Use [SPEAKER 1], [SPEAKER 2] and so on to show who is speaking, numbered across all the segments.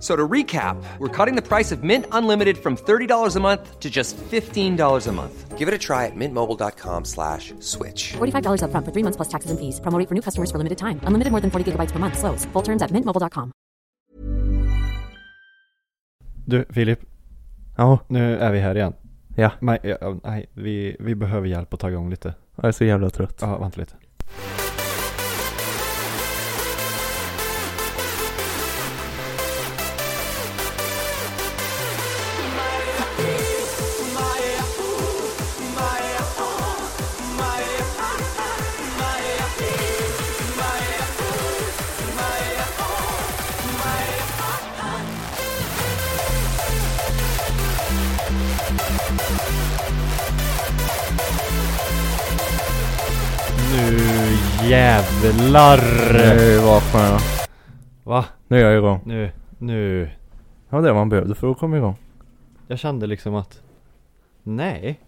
[SPEAKER 1] So to recap, we're cutting the price of Mint Unlimited from $30 a month to just $15 a month. Give it a try at mintmobile.com slash switch.
[SPEAKER 2] $45 upfront for three months plus taxes and fees. Promo rate for new customers for limited time. Unlimited more than 40 gigabytes per month. Slows. Full terms at mintmobile.com.
[SPEAKER 3] Du, Filip,
[SPEAKER 4] Ja,
[SPEAKER 3] nu är vi här igen.
[SPEAKER 4] Ja.
[SPEAKER 3] Nej, ja, nej vi, vi behöver hjälp att ta igång lite.
[SPEAKER 4] jag är så jävla trött.
[SPEAKER 3] Ja, vänta lite.
[SPEAKER 4] Nu jävlar! Nu vaknar jag.
[SPEAKER 3] Va?
[SPEAKER 4] Nu är jag igång.
[SPEAKER 3] Nu, nu.
[SPEAKER 4] Ja, det var man behövde för att komma igång.
[SPEAKER 3] Jag kände liksom att nej,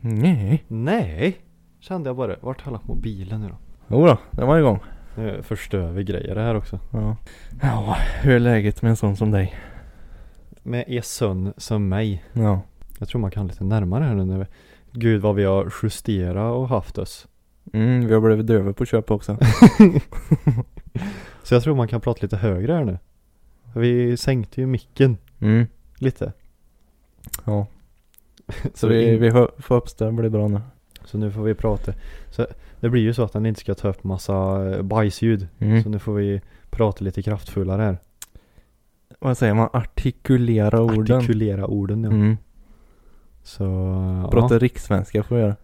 [SPEAKER 4] Nej.
[SPEAKER 3] nej. Kände jag bara, vart har jag lagt mobilen nu då?
[SPEAKER 4] Jo då, det var igång.
[SPEAKER 3] Nu förstör vi grejer det här också.
[SPEAKER 4] Ja. ja, hur är läget med en sån som dig?
[SPEAKER 3] Med er son som mig.
[SPEAKER 4] Ja.
[SPEAKER 3] Jag tror man kan lite närmare här nu. när vi- Gud vad vi har justerat och haft oss.
[SPEAKER 4] Mm, vi har blivit döva på köp också.
[SPEAKER 3] Så jag tror man kan prata lite högre här nu. Vi sänkte ju micken
[SPEAKER 4] Mm.
[SPEAKER 3] lite.
[SPEAKER 4] Ja. Så
[SPEAKER 3] Så
[SPEAKER 4] vi,
[SPEAKER 3] in-
[SPEAKER 4] vi hö- får hoppas det blir bra nu.
[SPEAKER 3] Så nu får vi prata. Så det blir ju så att den inte ska ta upp massa eh, bajsljud. Så
[SPEAKER 4] Mm.
[SPEAKER 3] nu får vi prata lite kraftfullare här.
[SPEAKER 4] Vad säger man? Artikulera orden.
[SPEAKER 3] Artikulera orden ja.
[SPEAKER 4] Mm.
[SPEAKER 3] Så
[SPEAKER 4] Prata
[SPEAKER 3] ja.
[SPEAKER 4] rikssvenska får vi göra.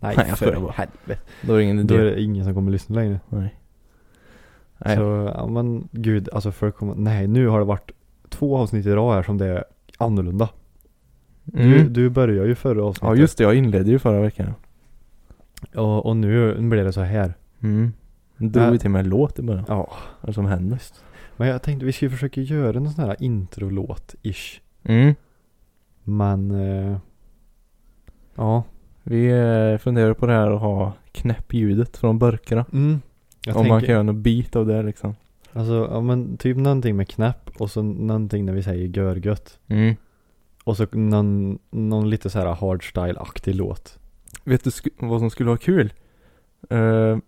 [SPEAKER 3] Nej,
[SPEAKER 4] Nej, jag
[SPEAKER 3] för
[SPEAKER 4] skojar bara.
[SPEAKER 3] helvete.
[SPEAKER 4] Då är det ingen
[SPEAKER 3] Då
[SPEAKER 4] idé.
[SPEAKER 3] är det ingen som kommer lyssna längre.
[SPEAKER 4] Nej. Nej.
[SPEAKER 3] Så ja men gud, alltså folk kommer, nej nu har det varit två avsnitt i rad här som det är annorlunda. Du,
[SPEAKER 4] Mm.
[SPEAKER 3] du började ju förra avsnittet.
[SPEAKER 4] Ja, just det. Jag inledde ju förra veckan.
[SPEAKER 3] Och, och nu blir det så här.
[SPEAKER 4] Mm. Drog
[SPEAKER 3] Äh.
[SPEAKER 4] vi till med en låt i början.
[SPEAKER 3] Ja.
[SPEAKER 4] Vad som händer.
[SPEAKER 3] Men jag tänkte vi skulle försöka göra en sån här introlåt-ish.
[SPEAKER 4] Mm.
[SPEAKER 3] Men, eh, ja.
[SPEAKER 4] Vi eh, funderar på det här att ha knäppljudet från burkarna.
[SPEAKER 3] Mm. Jag
[SPEAKER 4] Om man
[SPEAKER 3] tänker,
[SPEAKER 4] kan göra någon bit av det liksom.
[SPEAKER 3] alltså, ja men typ någonting med knäpp och så någonting när vi säger görgött.
[SPEAKER 4] Mm.
[SPEAKER 3] Och så någon, någon lite så här hardstyle-aktig låt.
[SPEAKER 4] Vet du sk- vad som skulle vara kul? Eh,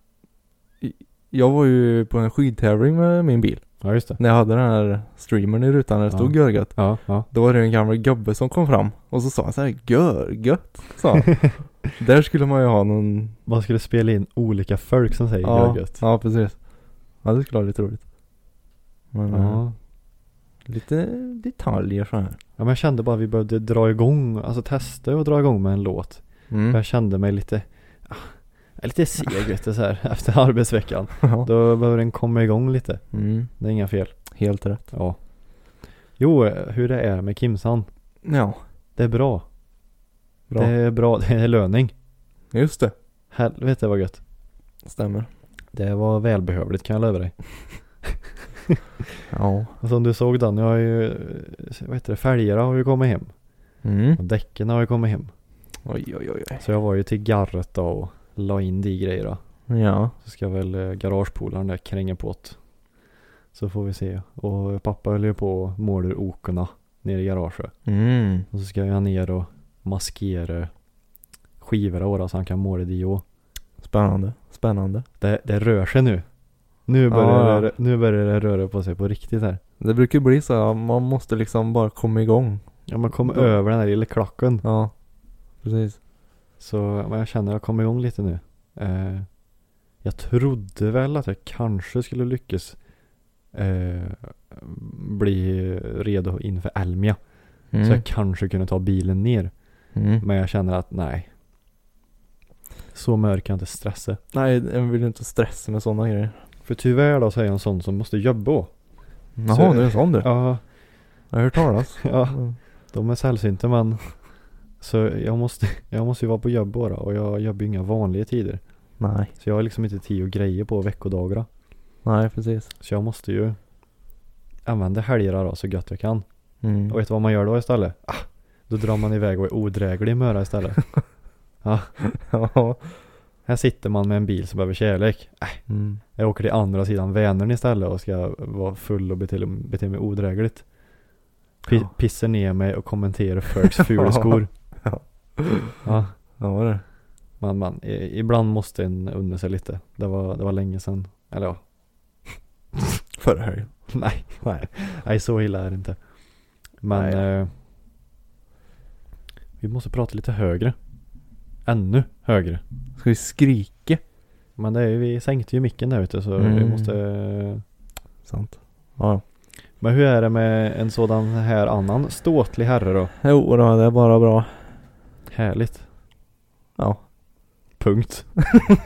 [SPEAKER 4] i- jag var ju på en skidtävling med min bil.
[SPEAKER 3] Ja, just det.
[SPEAKER 4] När jag hade den här streamern i rutan där det stod
[SPEAKER 3] Ja.
[SPEAKER 4] görgött.
[SPEAKER 3] Ja, ja.
[SPEAKER 4] Då var det en gammal gubbe som kom fram och så sa han så här görgött. Sa han. där skulle man ju ha någon.
[SPEAKER 3] Man skulle spela in olika folk som säger
[SPEAKER 4] Ja,
[SPEAKER 3] görgött.
[SPEAKER 4] ja precis. Ja det skulle vara lite roligt. Men, eh,
[SPEAKER 3] Ja.
[SPEAKER 4] Lite detaljer så här.
[SPEAKER 3] ja, men jag kände bara att vi behövde dra igång, alltså testa och dra igång med en låt.
[SPEAKER 4] Mm.
[SPEAKER 3] Jag kände mig lite, ah, jag är lite seg vet du, så här efter arbetsveckan. Då behöver den komma igång lite.
[SPEAKER 4] mm.
[SPEAKER 3] Det är inga fel.
[SPEAKER 4] Helt rätt.
[SPEAKER 3] Ja. Jo, eh, hur det är med Kimsan.
[SPEAKER 4] Ja.
[SPEAKER 3] Det är bra.
[SPEAKER 4] Bra.
[SPEAKER 3] Det är bra, det är löning.
[SPEAKER 4] Just det.
[SPEAKER 3] Helvete vad gött.
[SPEAKER 4] Stämmer.
[SPEAKER 3] Det var välbehövligt kan jag lova dig.
[SPEAKER 4] Ja.
[SPEAKER 3] Och som du såg Danny har ju, vad heter det, fälgarna har ju kommit hem.
[SPEAKER 4] Mm.
[SPEAKER 3] Och däcken har ju kommit hem.
[SPEAKER 4] Oj, oj, oj. oj.
[SPEAKER 3] Så jag var ju till garret då och la in de grejerna.
[SPEAKER 4] Ja.
[SPEAKER 3] Så ska väl eh, garagepolaren där kränga på åt. Så får vi se. Och pappa höll ju på och målar okorna nere i garaget.
[SPEAKER 4] Mm.
[SPEAKER 3] Och så ska jag ner och maskera skivorna åt så han kan måla det också.
[SPEAKER 4] Spännande. Spännande.
[SPEAKER 3] Det, det rör sig nu. Nu börjar,
[SPEAKER 4] Ja.
[SPEAKER 3] det, nu börjar det röra på sig på riktigt här.
[SPEAKER 4] Det brukar bli så här, man måste liksom bara komma igång.
[SPEAKER 3] Ja man kom
[SPEAKER 4] Ja.
[SPEAKER 3] över den här lilla klacken.
[SPEAKER 4] Ja. Precis.
[SPEAKER 3] Så men jag känner att jag kommer igång lite nu. Eh, jag trodde väl att jag kanske skulle lyckas eh, bli redo inför Elmia. Så
[SPEAKER 4] Mm.
[SPEAKER 3] jag kanske kunde ta bilen ner.
[SPEAKER 4] Mm.
[SPEAKER 3] Men jag känner att nej. Så mörk kan jag inte stressa.
[SPEAKER 4] Nej, jag vill inte stressa med sådana grejer.
[SPEAKER 3] För tyvärr då så är jag en sån som måste jobba.
[SPEAKER 4] Jaha, du är en sån du.
[SPEAKER 3] Ja,
[SPEAKER 4] Jag har hört talas.
[SPEAKER 3] ja.
[SPEAKER 4] Mm.
[SPEAKER 3] De är sällsynta men Så jag måste, jag måste ju vara på jobb bara och jag jobbar ju inga vanliga tider.
[SPEAKER 4] Nej.
[SPEAKER 3] Så jag har liksom inte tid och grejer på veckodagar.
[SPEAKER 4] Nej, precis.
[SPEAKER 3] Så jag måste ju använder helgerna då så gött jag kan.
[SPEAKER 4] Mm.
[SPEAKER 3] Och vet du vad man gör då istället? Ah, då drar man iväg och är odräglig i Möra istället.
[SPEAKER 4] ja.
[SPEAKER 3] Här sitter man med en bil som behöver kärlek. Äh,
[SPEAKER 4] Mm.
[SPEAKER 3] Jag åker till andra sidan Vänern istället och ska vara full och bete, bete mig odrägligt. P-
[SPEAKER 4] Ja.
[SPEAKER 3] Pissar ner mig och kommenterar folks fula skor.
[SPEAKER 4] Ja.
[SPEAKER 3] Ja,
[SPEAKER 4] Ja, var det.
[SPEAKER 3] man, man, i- ibland måste en unna sig lite. Det var, det var länge sedan. Eller ja,
[SPEAKER 4] Förra helgen.
[SPEAKER 3] nej, nej, nej så illa är det inte. Men
[SPEAKER 4] Nej.
[SPEAKER 3] eh, vi måste prata lite högre. Ännu högre.
[SPEAKER 4] Ska vi skrika?
[SPEAKER 3] Men det är, ju- vi sänkte ju micken där ute så vi
[SPEAKER 4] Mm.
[SPEAKER 3] måste eh,
[SPEAKER 4] Sant. Ja.
[SPEAKER 3] Men hur är det med en sådan här annan ståtlig herre då?
[SPEAKER 4] Jo då, det är bara bra.
[SPEAKER 3] Härligt.
[SPEAKER 4] Ja.
[SPEAKER 3] Punkt.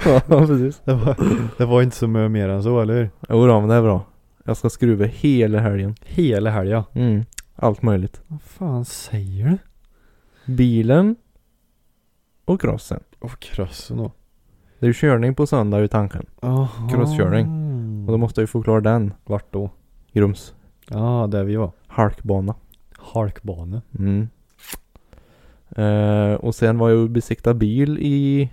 [SPEAKER 4] ja, precis.
[SPEAKER 3] Det var, det var inte så mycket mer än så, eller hur?
[SPEAKER 4] Jo då, men det är bra. Jag ska skruva hela helgen.
[SPEAKER 3] Hela helgen.
[SPEAKER 4] Mm. Allt möjligt.
[SPEAKER 3] Vad fan säger du?
[SPEAKER 4] Bilen och crossen.
[SPEAKER 3] Åh, krossen då.
[SPEAKER 4] Det är ju körning på söndag i tanken.
[SPEAKER 3] Aha.
[SPEAKER 4] Crosskörning. Och då måste jag ju få klara den.
[SPEAKER 3] Vart då?
[SPEAKER 4] Grums
[SPEAKER 3] Ja, där vi var.
[SPEAKER 4] halkbana.
[SPEAKER 3] Harkbane.
[SPEAKER 4] Mm. Eh, och sen var jag och besiktade bil i...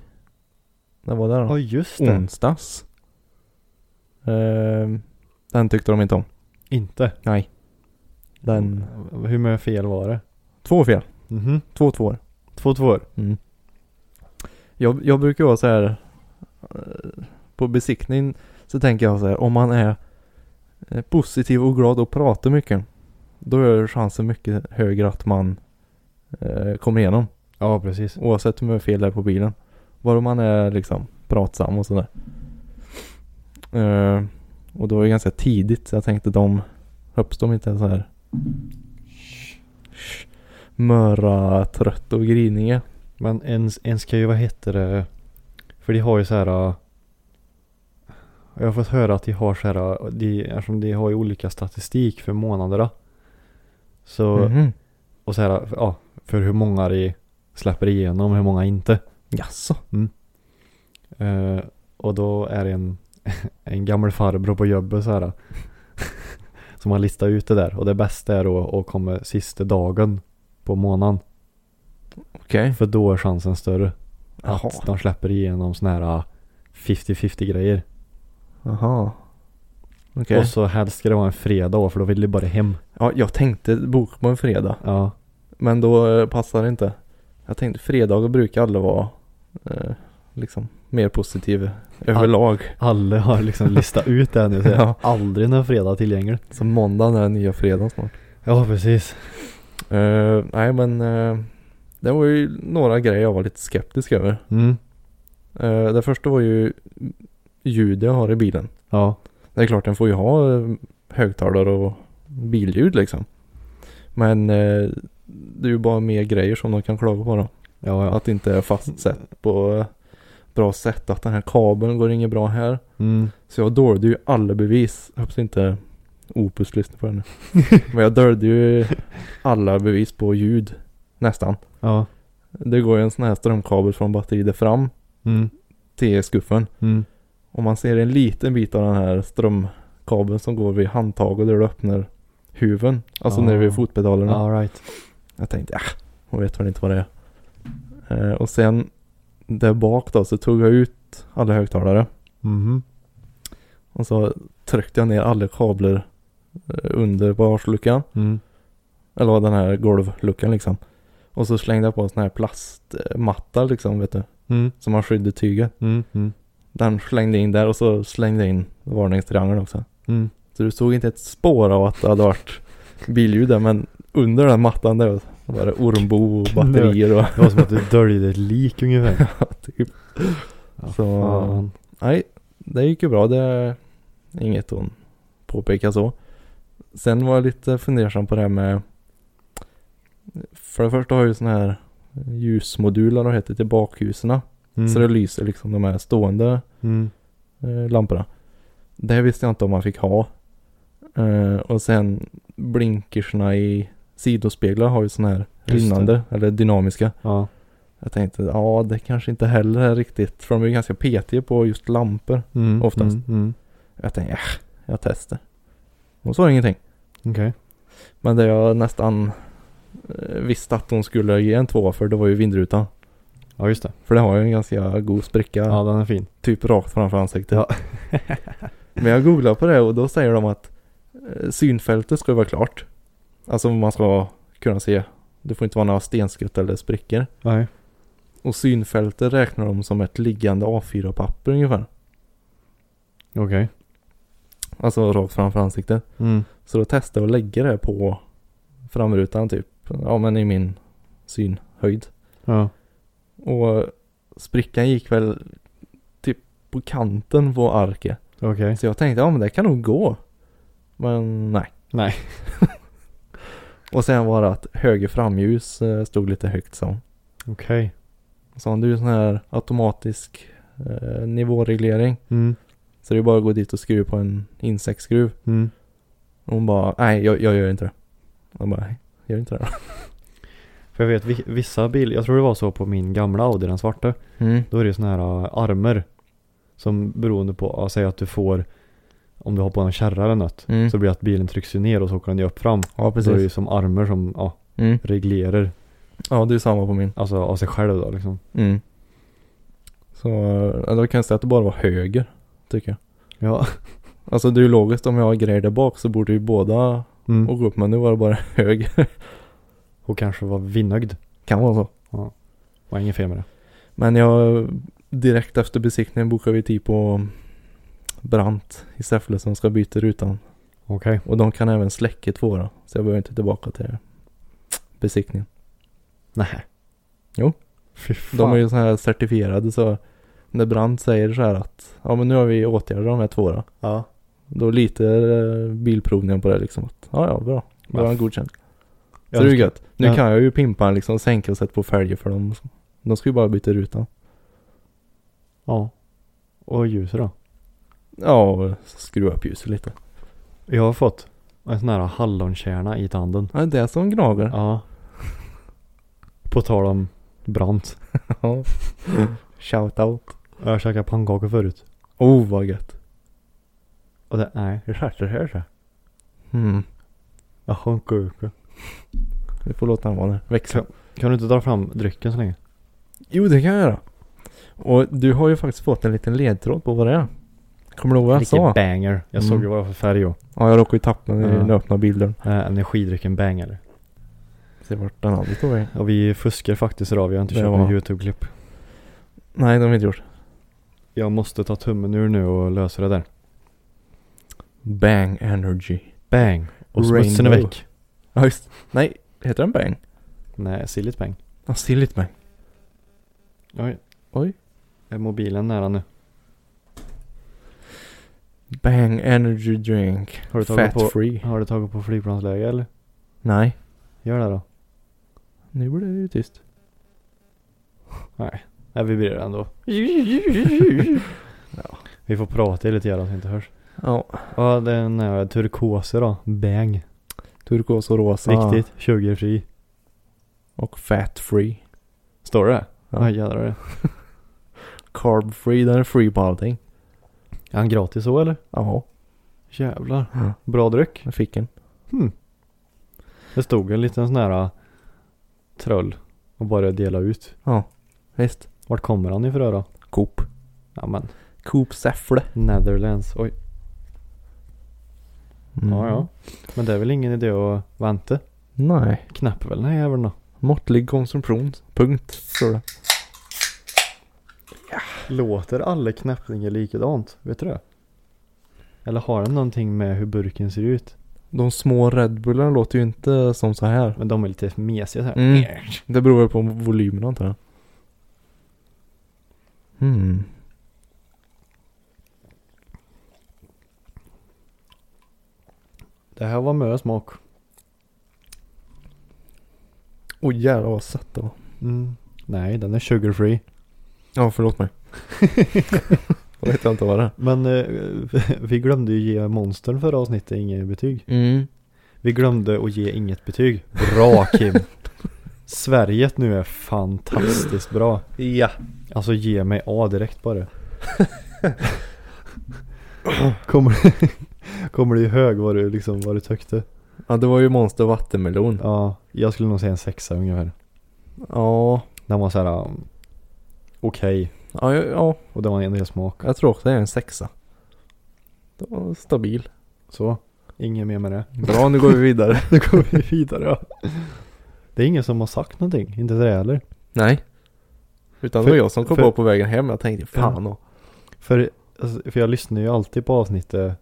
[SPEAKER 4] När var det
[SPEAKER 3] Ja,
[SPEAKER 4] då?
[SPEAKER 3] just det.
[SPEAKER 4] Mm. Onsdags. Eh, den tyckte de inte om.
[SPEAKER 3] Inte.
[SPEAKER 4] Nej. Den...
[SPEAKER 3] Hur mycket fel var det?
[SPEAKER 4] Två fel.
[SPEAKER 3] Mhm.
[SPEAKER 4] Två tvåor.
[SPEAKER 3] Två tvåor.
[SPEAKER 4] Mm. Jag, jag brukar vara så här eh, på besiktning så tänker jag så här om man är eh, positiv och glad och pratar mycket då är chansen mycket högre att man eh, kommer igenom
[SPEAKER 3] Ja, precis.
[SPEAKER 4] oavsett hur mycket fel det är på bilen. Bara om man är liksom pratsam och sådär. Eh, och då var det ganska tidigt så jag tänkte de hoppas de inte är så här möra, trött och griniga.
[SPEAKER 3] Men ens, ens kan ju, vad heter det? För de har ju så här. äh, Jag har fått höra att de har så här, äh, de, eftersom de har ju olika statistik för månaderna. Så,
[SPEAKER 4] Mhm.
[SPEAKER 3] och så här, äh, ja, för hur många de släpper igenom, hur många inte.
[SPEAKER 4] Jaså?
[SPEAKER 3] Eh, och då är det en, en gammal farbror på jobbet så här. äh, som har listat ut det där. Och det bästa är då att komma sista dagen på månaden.
[SPEAKER 4] Okej.
[SPEAKER 3] För då är chansen större.
[SPEAKER 4] Jaha.
[SPEAKER 3] Att de släpper igenom såna här 50-50 grejer.
[SPEAKER 4] Jaha. Okej.
[SPEAKER 3] Och så helst ska det vara en fredag för då vill de bara hem.
[SPEAKER 4] Ja, jag tänkte boka på en fredag.
[SPEAKER 3] Ja,
[SPEAKER 4] Men då eh, passar det inte. Jag tänkte fredagar brukar alla vara eh, liksom mer positiva överlag.
[SPEAKER 3] alla har liksom listat ut det här nu så jag
[SPEAKER 4] Ja.
[SPEAKER 3] har aldrig någon fredag tillgänglig.
[SPEAKER 4] Så måndagen är nya fredagen snart.
[SPEAKER 3] Ja, precis.
[SPEAKER 4] Eh, nej men eh, det var ju några grejer jag var lite skeptisk över.
[SPEAKER 3] Mm.
[SPEAKER 4] Eh, det första var ju ljud jag har i bilen.
[SPEAKER 3] Ja,
[SPEAKER 4] Det är klart den får ju ha eh, högtalare och billjud liksom. Men eh, det är ju bara mer grejer som de kan klaga på då.
[SPEAKER 3] ja, ja.
[SPEAKER 4] Att det inte är fastsatt på eh, bra sätt. Att den här kabeln går inget bra här.
[SPEAKER 3] Mm.
[SPEAKER 4] Så jag dolde ju alla bevis. Jag hoppas inte Opus lyssnar på det nu. Men jag dolde ju alla bevis på ljud. Nästan.
[SPEAKER 3] Ja.
[SPEAKER 4] Det går ju en sån här strömkabel från batteriet fram
[SPEAKER 3] Mm.
[SPEAKER 4] till skuffen.
[SPEAKER 3] Mm.
[SPEAKER 4] Och man ser en liten bit av den här strömkabeln som går vid handtaget där du öppnar huven. Alltså
[SPEAKER 3] Ah.
[SPEAKER 4] nere vid fotpedalerna.
[SPEAKER 3] All right.
[SPEAKER 4] Jag tänkte, ja, hon vet väl inte vad det är. Eh, och sen där bak då så tog jag ut alla högtalare. Mm-hmm.
[SPEAKER 3] Mhm.
[SPEAKER 4] Och så tryckte jag ner alla kablar eh, under bagageluckan.
[SPEAKER 3] Mm.
[SPEAKER 4] Eller den här golvluckan liksom. Och så slängde jag på en sån här plastmatta liksom vet du.
[SPEAKER 3] Mm.
[SPEAKER 4] Som man skyddar tyget.
[SPEAKER 3] Mm. Mm.
[SPEAKER 4] Den slängde jag in där och så slängde jag in varningstriangeln också.
[SPEAKER 3] Mm.
[SPEAKER 4] Så du såg inte ett spår av att det hade varit billjud där men under den mattan där var det ormbo och batterier och
[SPEAKER 3] Det var som att du döljde ett lik ungefär.
[SPEAKER 4] typ.
[SPEAKER 3] Ja,
[SPEAKER 4] Så-
[SPEAKER 3] fan.
[SPEAKER 4] Nej, det gick ju bra. Det är inget hon påpekar så. Sen var jag lite fundersam på det här med... För det första har jag ju sådana här ljusmoduler och heter till bakhusen.
[SPEAKER 3] Mm.
[SPEAKER 4] Så det lyser liksom de här stående
[SPEAKER 3] mm.
[SPEAKER 4] eh, lamporna. Det här visste jag inte om man fick ha. Eh, och sen blinkersna i sidospeglar har ju sådana här
[SPEAKER 3] Just det.
[SPEAKER 4] rinnande eller dynamiska.
[SPEAKER 3] Ja. Jag
[SPEAKER 4] Jag tänkte ja det kanske inte heller är riktigt för de är ju ganska petiga på just lampor.
[SPEAKER 3] mm.
[SPEAKER 4] oftast.
[SPEAKER 3] Mm. Mm.
[SPEAKER 4] Jag tänkte, ja, jag testar. Och så var det ingenting.
[SPEAKER 3] Okej.
[SPEAKER 4] Men det jag nästan eh, visste att hon skulle ge en tvåa för det var ju vindrutan.
[SPEAKER 3] Ja just det.
[SPEAKER 4] För den har ju en ganska god spricka.
[SPEAKER 3] Ja den är fin.
[SPEAKER 4] Typ rakt framför ansiktet. Men jag googlade på det och då säger de att eh, synfältet ska ju vara klart. Alltså man ska kunna se. Det får inte vara några stenskutt eller sprickor.
[SPEAKER 3] Nej.
[SPEAKER 4] Och synfältet räknar de som ett liggande A4-papper ungefär.
[SPEAKER 3] Okej.
[SPEAKER 4] Alltså rakt framför ansiktet.
[SPEAKER 3] Mm.
[SPEAKER 4] Så då testade jag att lägga det på framrutan typ. Ja men i min synhöjd.
[SPEAKER 3] Ja.
[SPEAKER 4] Och sprickan gick väl typ på kanten på arket.
[SPEAKER 3] Okej.
[SPEAKER 4] Så jag tänkte, ja men det kan nog gå. Men nej.
[SPEAKER 3] Nej.
[SPEAKER 4] och sen var det att höger framljus eh, stod lite högt så.
[SPEAKER 3] Okej.
[SPEAKER 4] Så det är ju sån här automatisk eh, nivåreglering.
[SPEAKER 3] Mm.
[SPEAKER 4] Så det är bara att gå dit och skruva på en insektsskruv.
[SPEAKER 3] Mm.
[SPEAKER 4] Och hon bara, nej jag, jag gör inte det. Jag bara, nej, gör inte det
[SPEAKER 3] För jag vet vi- vissa bilar, jag tror det var så på min gamla Audi den svarta.
[SPEAKER 4] då. Mm.
[SPEAKER 3] Då är det sådana här äh, armar. Som beroende på, äh, säg att du får, om du har på en kärra eller något.
[SPEAKER 4] Mm.
[SPEAKER 3] Så blir det att bilen trycks ju ner och så åker den ju upp fram.
[SPEAKER 4] Ja
[SPEAKER 3] Så är det ju
[SPEAKER 4] precis.
[SPEAKER 3] som armar som ja,
[SPEAKER 4] Mm.
[SPEAKER 3] reglerar,
[SPEAKER 4] Ja det är samma på min.
[SPEAKER 3] alltså av sig själv då liksom.
[SPEAKER 4] Mm. Så eh, då kan jag säga att det bara var höger. Tycker jag.
[SPEAKER 3] Ja.
[SPEAKER 4] Alltså det är ju logiskt om jag har grejer där bak så borde ju båda
[SPEAKER 3] Mm.
[SPEAKER 4] åka upp. Men nu var det bara höger.
[SPEAKER 3] Och kanske vara vinnögd.
[SPEAKER 4] kan vara så.
[SPEAKER 3] Var inget fel med det.
[SPEAKER 4] Men jag direkt efter besiktningen bokade vi tid på Brant i Säffle som ska byta rutan.
[SPEAKER 3] Okej.
[SPEAKER 4] Och de kan även släcka två då. Så jag behöver inte tillbaka till besiktningen.
[SPEAKER 3] Nej.
[SPEAKER 4] Jo.
[SPEAKER 3] Fy fan.
[SPEAKER 4] De är ju så här certifierade så när Brandt säger så här att ja men nu har vi åtgärdat de här två då.
[SPEAKER 3] Ja.
[SPEAKER 4] Då litar eh, bilprovningen på det liksom att ja ja bra. Då har han godkänt. Så
[SPEAKER 3] Ja,
[SPEAKER 4] det är ju gött. Nu
[SPEAKER 3] ja.
[SPEAKER 4] kan jag ju pimpa han liksom sänka och sätta på fälgar för dem. De ska ju bara byta rutan.
[SPEAKER 3] Ja. Och ljuset då?
[SPEAKER 4] Ja och skruva upp ljuset lite.
[SPEAKER 3] Jag har fått en sån här hallonkärna i tanden.
[SPEAKER 4] Ja, det är som gnager.
[SPEAKER 3] Ja. På tal om brant.
[SPEAKER 4] Ja. Shout out.
[SPEAKER 3] Jag käkade pannkakor förut.
[SPEAKER 4] Oh vad gött.
[SPEAKER 3] Och det, nej, det satte sig här så.
[SPEAKER 4] Mm.
[SPEAKER 3] Jag har en kuka.
[SPEAKER 4] Vi får låta den vara där. Växla.
[SPEAKER 3] Kan du inte dra fram drycken så länge?
[SPEAKER 4] Jo det kan jag göra. Och du har ju faktiskt fått en liten ledtråd på vad det är. Kommer du ihåg vad jag
[SPEAKER 3] Vilken
[SPEAKER 4] sa?
[SPEAKER 3] banger. Jag såg
[SPEAKER 4] Mm.
[SPEAKER 3] ju vad det var för färg och.
[SPEAKER 4] Ja jag råkade ju tappa den i
[SPEAKER 3] Ja.
[SPEAKER 4] den öppna bilden.
[SPEAKER 3] Eh, energidrycken banger.
[SPEAKER 4] Se vart den andra tog vägen.
[SPEAKER 3] Och vi fuskar faktiskt idag. Vi har inte
[SPEAKER 4] Det
[SPEAKER 3] köpt
[SPEAKER 4] var-
[SPEAKER 3] några YouTube-klipp.
[SPEAKER 4] Nej det har vi inte gjort.
[SPEAKER 3] Jag måste ta tummen ur nu och lösa det där.
[SPEAKER 4] Bang energy.
[SPEAKER 3] Bang! Och smutsen är
[SPEAKER 4] Rainbow.
[SPEAKER 3] väck.
[SPEAKER 4] Ja just Nej, heter den bang?
[SPEAKER 3] Nej, silligt bang.
[SPEAKER 4] Ja, silligt bang.
[SPEAKER 3] Oj.
[SPEAKER 4] Oj.
[SPEAKER 3] Är mobilen nära nu?
[SPEAKER 4] Bang energy drink.
[SPEAKER 3] Har du tagit
[SPEAKER 4] Fat
[SPEAKER 3] på-
[SPEAKER 4] free.
[SPEAKER 3] Har du tagit på flygplansläge eller?
[SPEAKER 4] Nej.
[SPEAKER 3] Gör det då.
[SPEAKER 4] Nu blir det ju tyst.
[SPEAKER 3] Jag vibrerar ändå. Vi får prata i lite grann så det inte hörs.
[SPEAKER 4] Ja.
[SPEAKER 3] Ja, den är eh, turkoser då. Bang.
[SPEAKER 4] Turkos och rosa.
[SPEAKER 3] Viktigt. Sugarfri.
[SPEAKER 4] Och fat free.
[SPEAKER 3] Står det?
[SPEAKER 4] Ja.
[SPEAKER 3] Ja, ah, jädrar det.
[SPEAKER 4] Carb free, den är free på allting.
[SPEAKER 3] Är han gratis så eller?
[SPEAKER 4] Jaha.
[SPEAKER 3] Jävlar.
[SPEAKER 4] Ja.
[SPEAKER 3] Bra dryck.
[SPEAKER 4] Jag fick en.
[SPEAKER 3] Hmm. Det stod en liten sån här äh, troll och bara dela ut.
[SPEAKER 4] Ja. Visst.
[SPEAKER 3] Vart kommer han ifrån då?
[SPEAKER 4] Coop.
[SPEAKER 3] Ja men,
[SPEAKER 4] Coop Säffle.
[SPEAKER 3] Netherlands. Oj.
[SPEAKER 4] Mm.
[SPEAKER 3] Ja, ja. Men det är väl ingen idé att vänta?
[SPEAKER 4] Nej.
[SPEAKER 3] Knappt väl den här jäveln då?
[SPEAKER 4] Måttlig konsumtion. Punkt. Står det.
[SPEAKER 3] Låter alla knappningar likadant? Vet du det? Eller har den någonting med hur burken ser ut?
[SPEAKER 4] De små Red Bullen låter ju inte som så här.
[SPEAKER 3] Men de är lite mesiga så här.
[SPEAKER 4] Mm. Det beror väl på volymen antar jag. Mm.
[SPEAKER 3] Det här var mö smak.
[SPEAKER 4] Oj jävlar vad sött det var.
[SPEAKER 3] Mm. Nej, den är sugar free.
[SPEAKER 4] Ja förlåt mig. jag vet inte vad det är.
[SPEAKER 3] Men eh, vi glömde ju ge monstern förra avsnittet inget betyg.
[SPEAKER 4] Mm.
[SPEAKER 3] Vi glömde att ge inget betyg. Bra Kim! Sverige nu är fantastiskt bra.
[SPEAKER 4] Ja.
[SPEAKER 3] Alltså ge mig A direkt bara. kommer, kommer det ihåg vad du, liksom, vad du tyckte?
[SPEAKER 4] Ja, det var ju Monster Vattenmelon. Ja.
[SPEAKER 3] Ja, jag skulle nog säga en sexa ungefär.
[SPEAKER 4] Ja,
[SPEAKER 3] Den var såhär um, okej
[SPEAKER 4] ja, ja,
[SPEAKER 3] och det var en del smak.
[SPEAKER 4] jag tror också det är en sexa. Det var stabil.
[SPEAKER 3] Så, inget mer med det.
[SPEAKER 4] Bra, nu går vi vidare.
[SPEAKER 3] Då går vi vidare. ja. Det är ingen som har sagt någonting, inte det heller.
[SPEAKER 4] Nej. Utan det
[SPEAKER 3] För-
[SPEAKER 4] var jag som kom
[SPEAKER 3] för-
[SPEAKER 4] på på vägen hem. Jag tänkte fan och.
[SPEAKER 3] För, alltså, för jag lyssnar ju alltid på avsnittet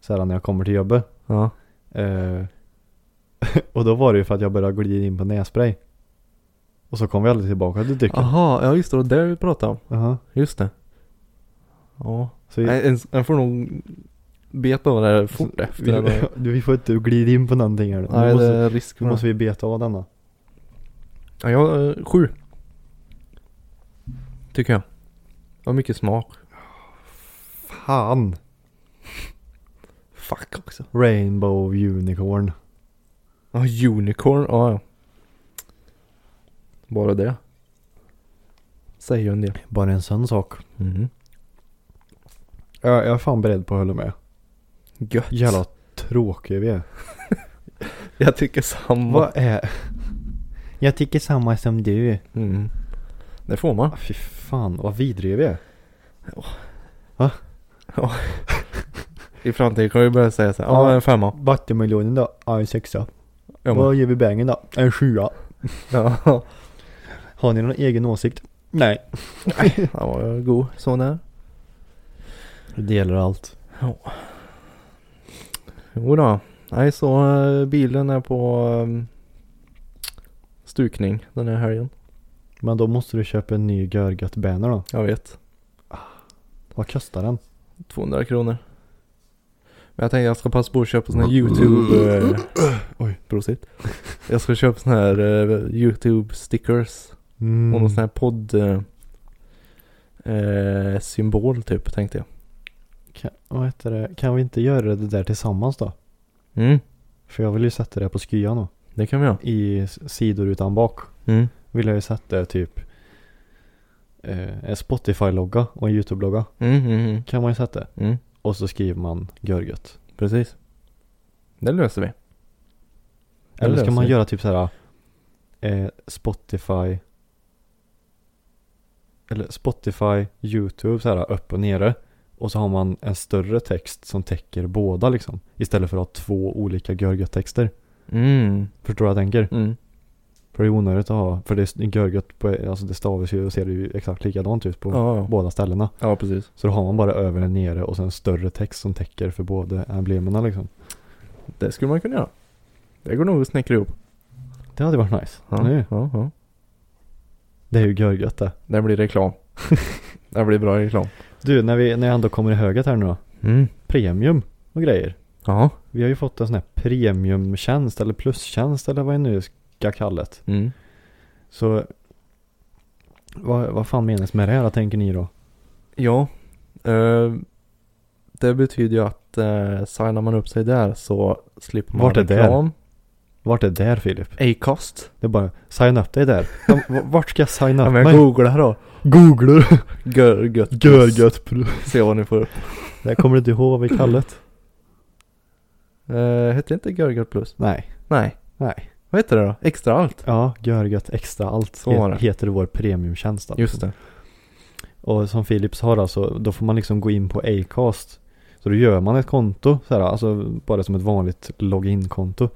[SPEAKER 3] såhär när jag kommer till jobbet.
[SPEAKER 4] Ja.
[SPEAKER 3] Eh, och då var det ju för att jag började glida in på nässpray. Och så kom vi aldrig tillbaka till drycken.
[SPEAKER 4] Aha, ja just det. Det var det vi pratade om.
[SPEAKER 3] Jaha.
[SPEAKER 4] Just det. Ja.
[SPEAKER 3] Så vi,
[SPEAKER 4] Nej, en, en får nog beta av det här fort efter.
[SPEAKER 3] vi,
[SPEAKER 4] eller-
[SPEAKER 3] du, vi får inte glida in på någonting här nu.
[SPEAKER 4] Nej,
[SPEAKER 3] nu
[SPEAKER 4] det
[SPEAKER 3] måste,
[SPEAKER 4] är risk
[SPEAKER 3] nu
[SPEAKER 4] för
[SPEAKER 3] måste
[SPEAKER 4] det.
[SPEAKER 3] vi beta av denna.
[SPEAKER 4] Ja, jag, eh, sju. Tycker jag. Det var mycket smak.
[SPEAKER 3] Fan!
[SPEAKER 4] Fuck också.
[SPEAKER 3] Rainbow unicorn.
[SPEAKER 4] Ja, unicorn. Ja, ja. Bara det. Säger ju en del.
[SPEAKER 3] Bara en sån sak.
[SPEAKER 4] Mm.
[SPEAKER 3] Jag, jag är fan beredd på att hålla med.
[SPEAKER 4] Gött.
[SPEAKER 3] Jävla tråkiga vi är.
[SPEAKER 4] Jag tycker samma.
[SPEAKER 3] Vad är... Jag tycker samma som du.
[SPEAKER 4] Mm. Det får man.
[SPEAKER 3] Ah, fy fan, vad vidriga vi är.
[SPEAKER 4] I framtiden kan vi börja säga så här. Ja,
[SPEAKER 3] Ja.
[SPEAKER 4] en femma.
[SPEAKER 3] Vattenmelonen då? Ja, en sexa.
[SPEAKER 4] Ja, men.
[SPEAKER 3] Vad ger vi bängen då? En sjua.
[SPEAKER 4] Ja,
[SPEAKER 3] Har ni någon egen åsikt? Nej.
[SPEAKER 4] han var god. Sån där.
[SPEAKER 3] Det gäller allt.
[SPEAKER 4] Jo då. Nej, så eh, bilen är på um, stukning den här helgen.
[SPEAKER 3] Men då måste du köpa en ny görgött banner då.
[SPEAKER 4] Jag vet.
[SPEAKER 3] Vad kostar den?
[SPEAKER 4] 200 kronor. Men jag tänkte jag ska passa på att köpa sån
[SPEAKER 3] Mm.
[SPEAKER 4] här YouTube... eh, Oj, prosit. Jag ska köpa sån här eh, YouTube stickers.
[SPEAKER 3] Mm.
[SPEAKER 4] Och någon sån här podd... eh, eh, symbol typ tänkte jag.
[SPEAKER 3] Kan, vad heter det? kan vi inte göra det där tillsammans då?
[SPEAKER 4] Mm,
[SPEAKER 3] För jag vill ju sätta det på skyan då.
[SPEAKER 4] det kan vi göra.
[SPEAKER 3] I s- sidor utan bak.
[SPEAKER 4] Mm.
[SPEAKER 3] Vill jag ju sätta typ eh, en Spotify-logga och en YouTube-logga.
[SPEAKER 4] Mm, mm, mm,
[SPEAKER 3] Kan man ju sätta.
[SPEAKER 4] mm.
[SPEAKER 3] Och så skriver man görgött.
[SPEAKER 4] Precis. Det löser vi. Det
[SPEAKER 3] Eller ska
[SPEAKER 4] löser
[SPEAKER 3] man
[SPEAKER 4] vi.
[SPEAKER 3] göra typ så här eh, Spotify eller Spotify, YouTube så här upp och nere och så har man en större text som täcker båda liksom istället för att ha två olika görgött-texter.
[SPEAKER 4] Mm.
[SPEAKER 3] Förstår du vad jag tänker?
[SPEAKER 4] Mm.
[SPEAKER 3] För det är onödigt att ha, för det är görgött på, alltså det stavas ju och ser ju exakt likadant ut på
[SPEAKER 4] Ja, ja.
[SPEAKER 3] båda ställena.
[SPEAKER 4] ja, precis.
[SPEAKER 3] Så då har man bara över och nere och sen större text som täcker för båda emblemerna liksom.
[SPEAKER 4] Det skulle man kunna göra. Det går nog att snickra ihop.
[SPEAKER 3] Det hade varit nice. Nu.
[SPEAKER 4] ja, ja.
[SPEAKER 3] Det är ju görgött det.
[SPEAKER 4] Det blir reklam. det blir bra reklam.
[SPEAKER 3] Du, när vi, när jag ändå kommer i höget här nu då.
[SPEAKER 4] Mm.
[SPEAKER 3] Premium och grejer.
[SPEAKER 4] Ja.
[SPEAKER 3] Vi har ju fått en sån här premiumtjänst eller plustjänst eller vad jag nu ska kalla det.
[SPEAKER 4] Mm.
[SPEAKER 3] Så vad, vad fan menas med det här tänker ni då?
[SPEAKER 4] Ja. Eh, det betyder ju att eh, signar man upp sig där så slipper man
[SPEAKER 3] Vart är det?
[SPEAKER 4] reklam.
[SPEAKER 3] Vart är där Filip?
[SPEAKER 4] Acast.
[SPEAKER 3] Det är bara, signa upp dig där. Ja, v- Vart ska jag signa
[SPEAKER 4] Ja,
[SPEAKER 3] upp
[SPEAKER 4] men
[SPEAKER 3] mig?
[SPEAKER 4] googla då.
[SPEAKER 3] Googlar.
[SPEAKER 4] Görgött.
[SPEAKER 3] Görgött.
[SPEAKER 4] Se vad ni får upp.
[SPEAKER 3] Jag kommer inte ihåg vad vi kallade det.
[SPEAKER 4] Eh, heter det inte Görgött plus?
[SPEAKER 3] Nej.
[SPEAKER 4] Nej.
[SPEAKER 3] Nej.
[SPEAKER 4] Vad heter det då? Extra allt?
[SPEAKER 3] Ja, görgött extra allt
[SPEAKER 4] Så var det.
[SPEAKER 3] heter vår premiumtjänst. alltså.
[SPEAKER 4] Just det.
[SPEAKER 3] Och som Philips har alltså, då får man liksom gå in på Acast. Så då gör man ett konto, så här, alltså bara som ett vanligt login-konto.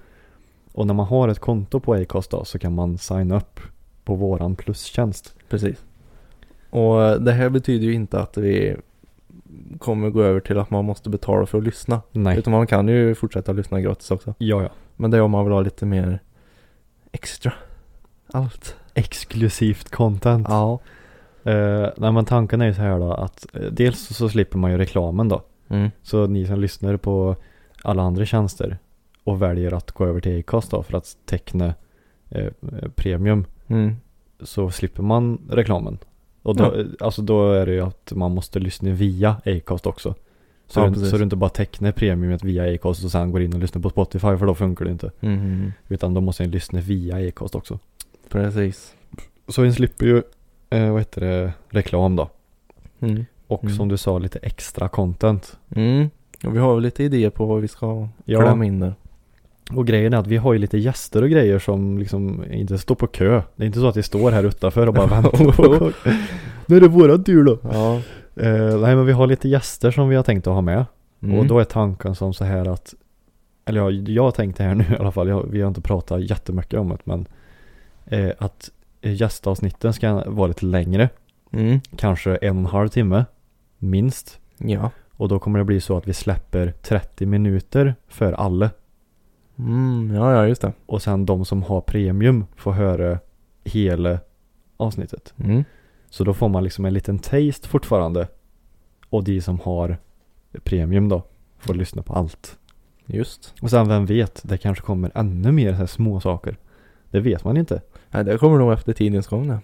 [SPEAKER 3] Och när man har ett konto på Acast då, så kan man signa upp på våran plustjänst.
[SPEAKER 4] Precis. Och eh, det här betyder ju inte att vi kommer gå över till att man måste betala för att lyssna.
[SPEAKER 3] Nej.
[SPEAKER 4] Utan man kan ju fortsätta lyssna gratis också.
[SPEAKER 3] Ja, ja.
[SPEAKER 4] Men det är om man vill ha lite mer extra. Allt.
[SPEAKER 3] Exklusivt content.
[SPEAKER 4] Ja.
[SPEAKER 3] Eh, nej men tanken är ju så här då att eh, dels så slipper man ju reklamen då.
[SPEAKER 4] Mm.
[SPEAKER 3] Så ni som lyssnar på alla andra tjänster och väljer att gå över till Acast då för att teckna eh, premium
[SPEAKER 4] Mm.
[SPEAKER 3] så slipper man reklamen. Och då, alltså då är det ju att man måste lyssna via Acast också. Så,
[SPEAKER 4] Ja,
[SPEAKER 3] du,
[SPEAKER 4] precis.
[SPEAKER 3] så du inte bara tecknar premiumet via Acast och sen går in och lyssnar på Spotify för då funkar det inte.
[SPEAKER 4] Mm.
[SPEAKER 3] Utan då måste ni lyssna via Acast också.
[SPEAKER 4] Precis.
[SPEAKER 3] Så ni slipper ju, eh, vad heter det, reklam då.
[SPEAKER 4] Mm.
[SPEAKER 3] Och
[SPEAKER 4] Mm.
[SPEAKER 3] som du sa lite extra content.
[SPEAKER 4] Mm. Och vi har väl lite idéer på vad vi ska
[SPEAKER 3] Ja.
[SPEAKER 4] klämma in där.
[SPEAKER 3] Och grejen är att vi har ju lite gäster och grejer som liksom inte står på kö. Det är inte så att vi står här utanför och bara väntar på Nu är det våran tur då.
[SPEAKER 4] Ja.
[SPEAKER 3] Eh, nej men vi har lite gäster som vi har tänkt att ha med.
[SPEAKER 4] Mm.
[SPEAKER 3] Och då är tanken som så här att Eller jag, jag tänkte här nu i alla fall, jag, vi har inte pratat jättemycket om det men eh, Att eh, gästavsnitten ska vara lite längre
[SPEAKER 4] Mm.
[SPEAKER 3] Kanske en och en halv timme Minst
[SPEAKER 4] Ja.
[SPEAKER 3] Och då kommer det bli så att vi släpper 30 minuter för alla
[SPEAKER 4] Mm. Ja, ja, just det.
[SPEAKER 3] Och sen de som har premium får höra hela avsnittet
[SPEAKER 4] Mm.
[SPEAKER 3] Så då får man liksom en liten taste fortfarande Och de som har premium då får lyssna på allt
[SPEAKER 4] Just.
[SPEAKER 3] Och sen vem vet, det kanske kommer ännu mer så här små saker. Det vet man inte.
[SPEAKER 4] Nej, det kommer nog efter tidens gång det.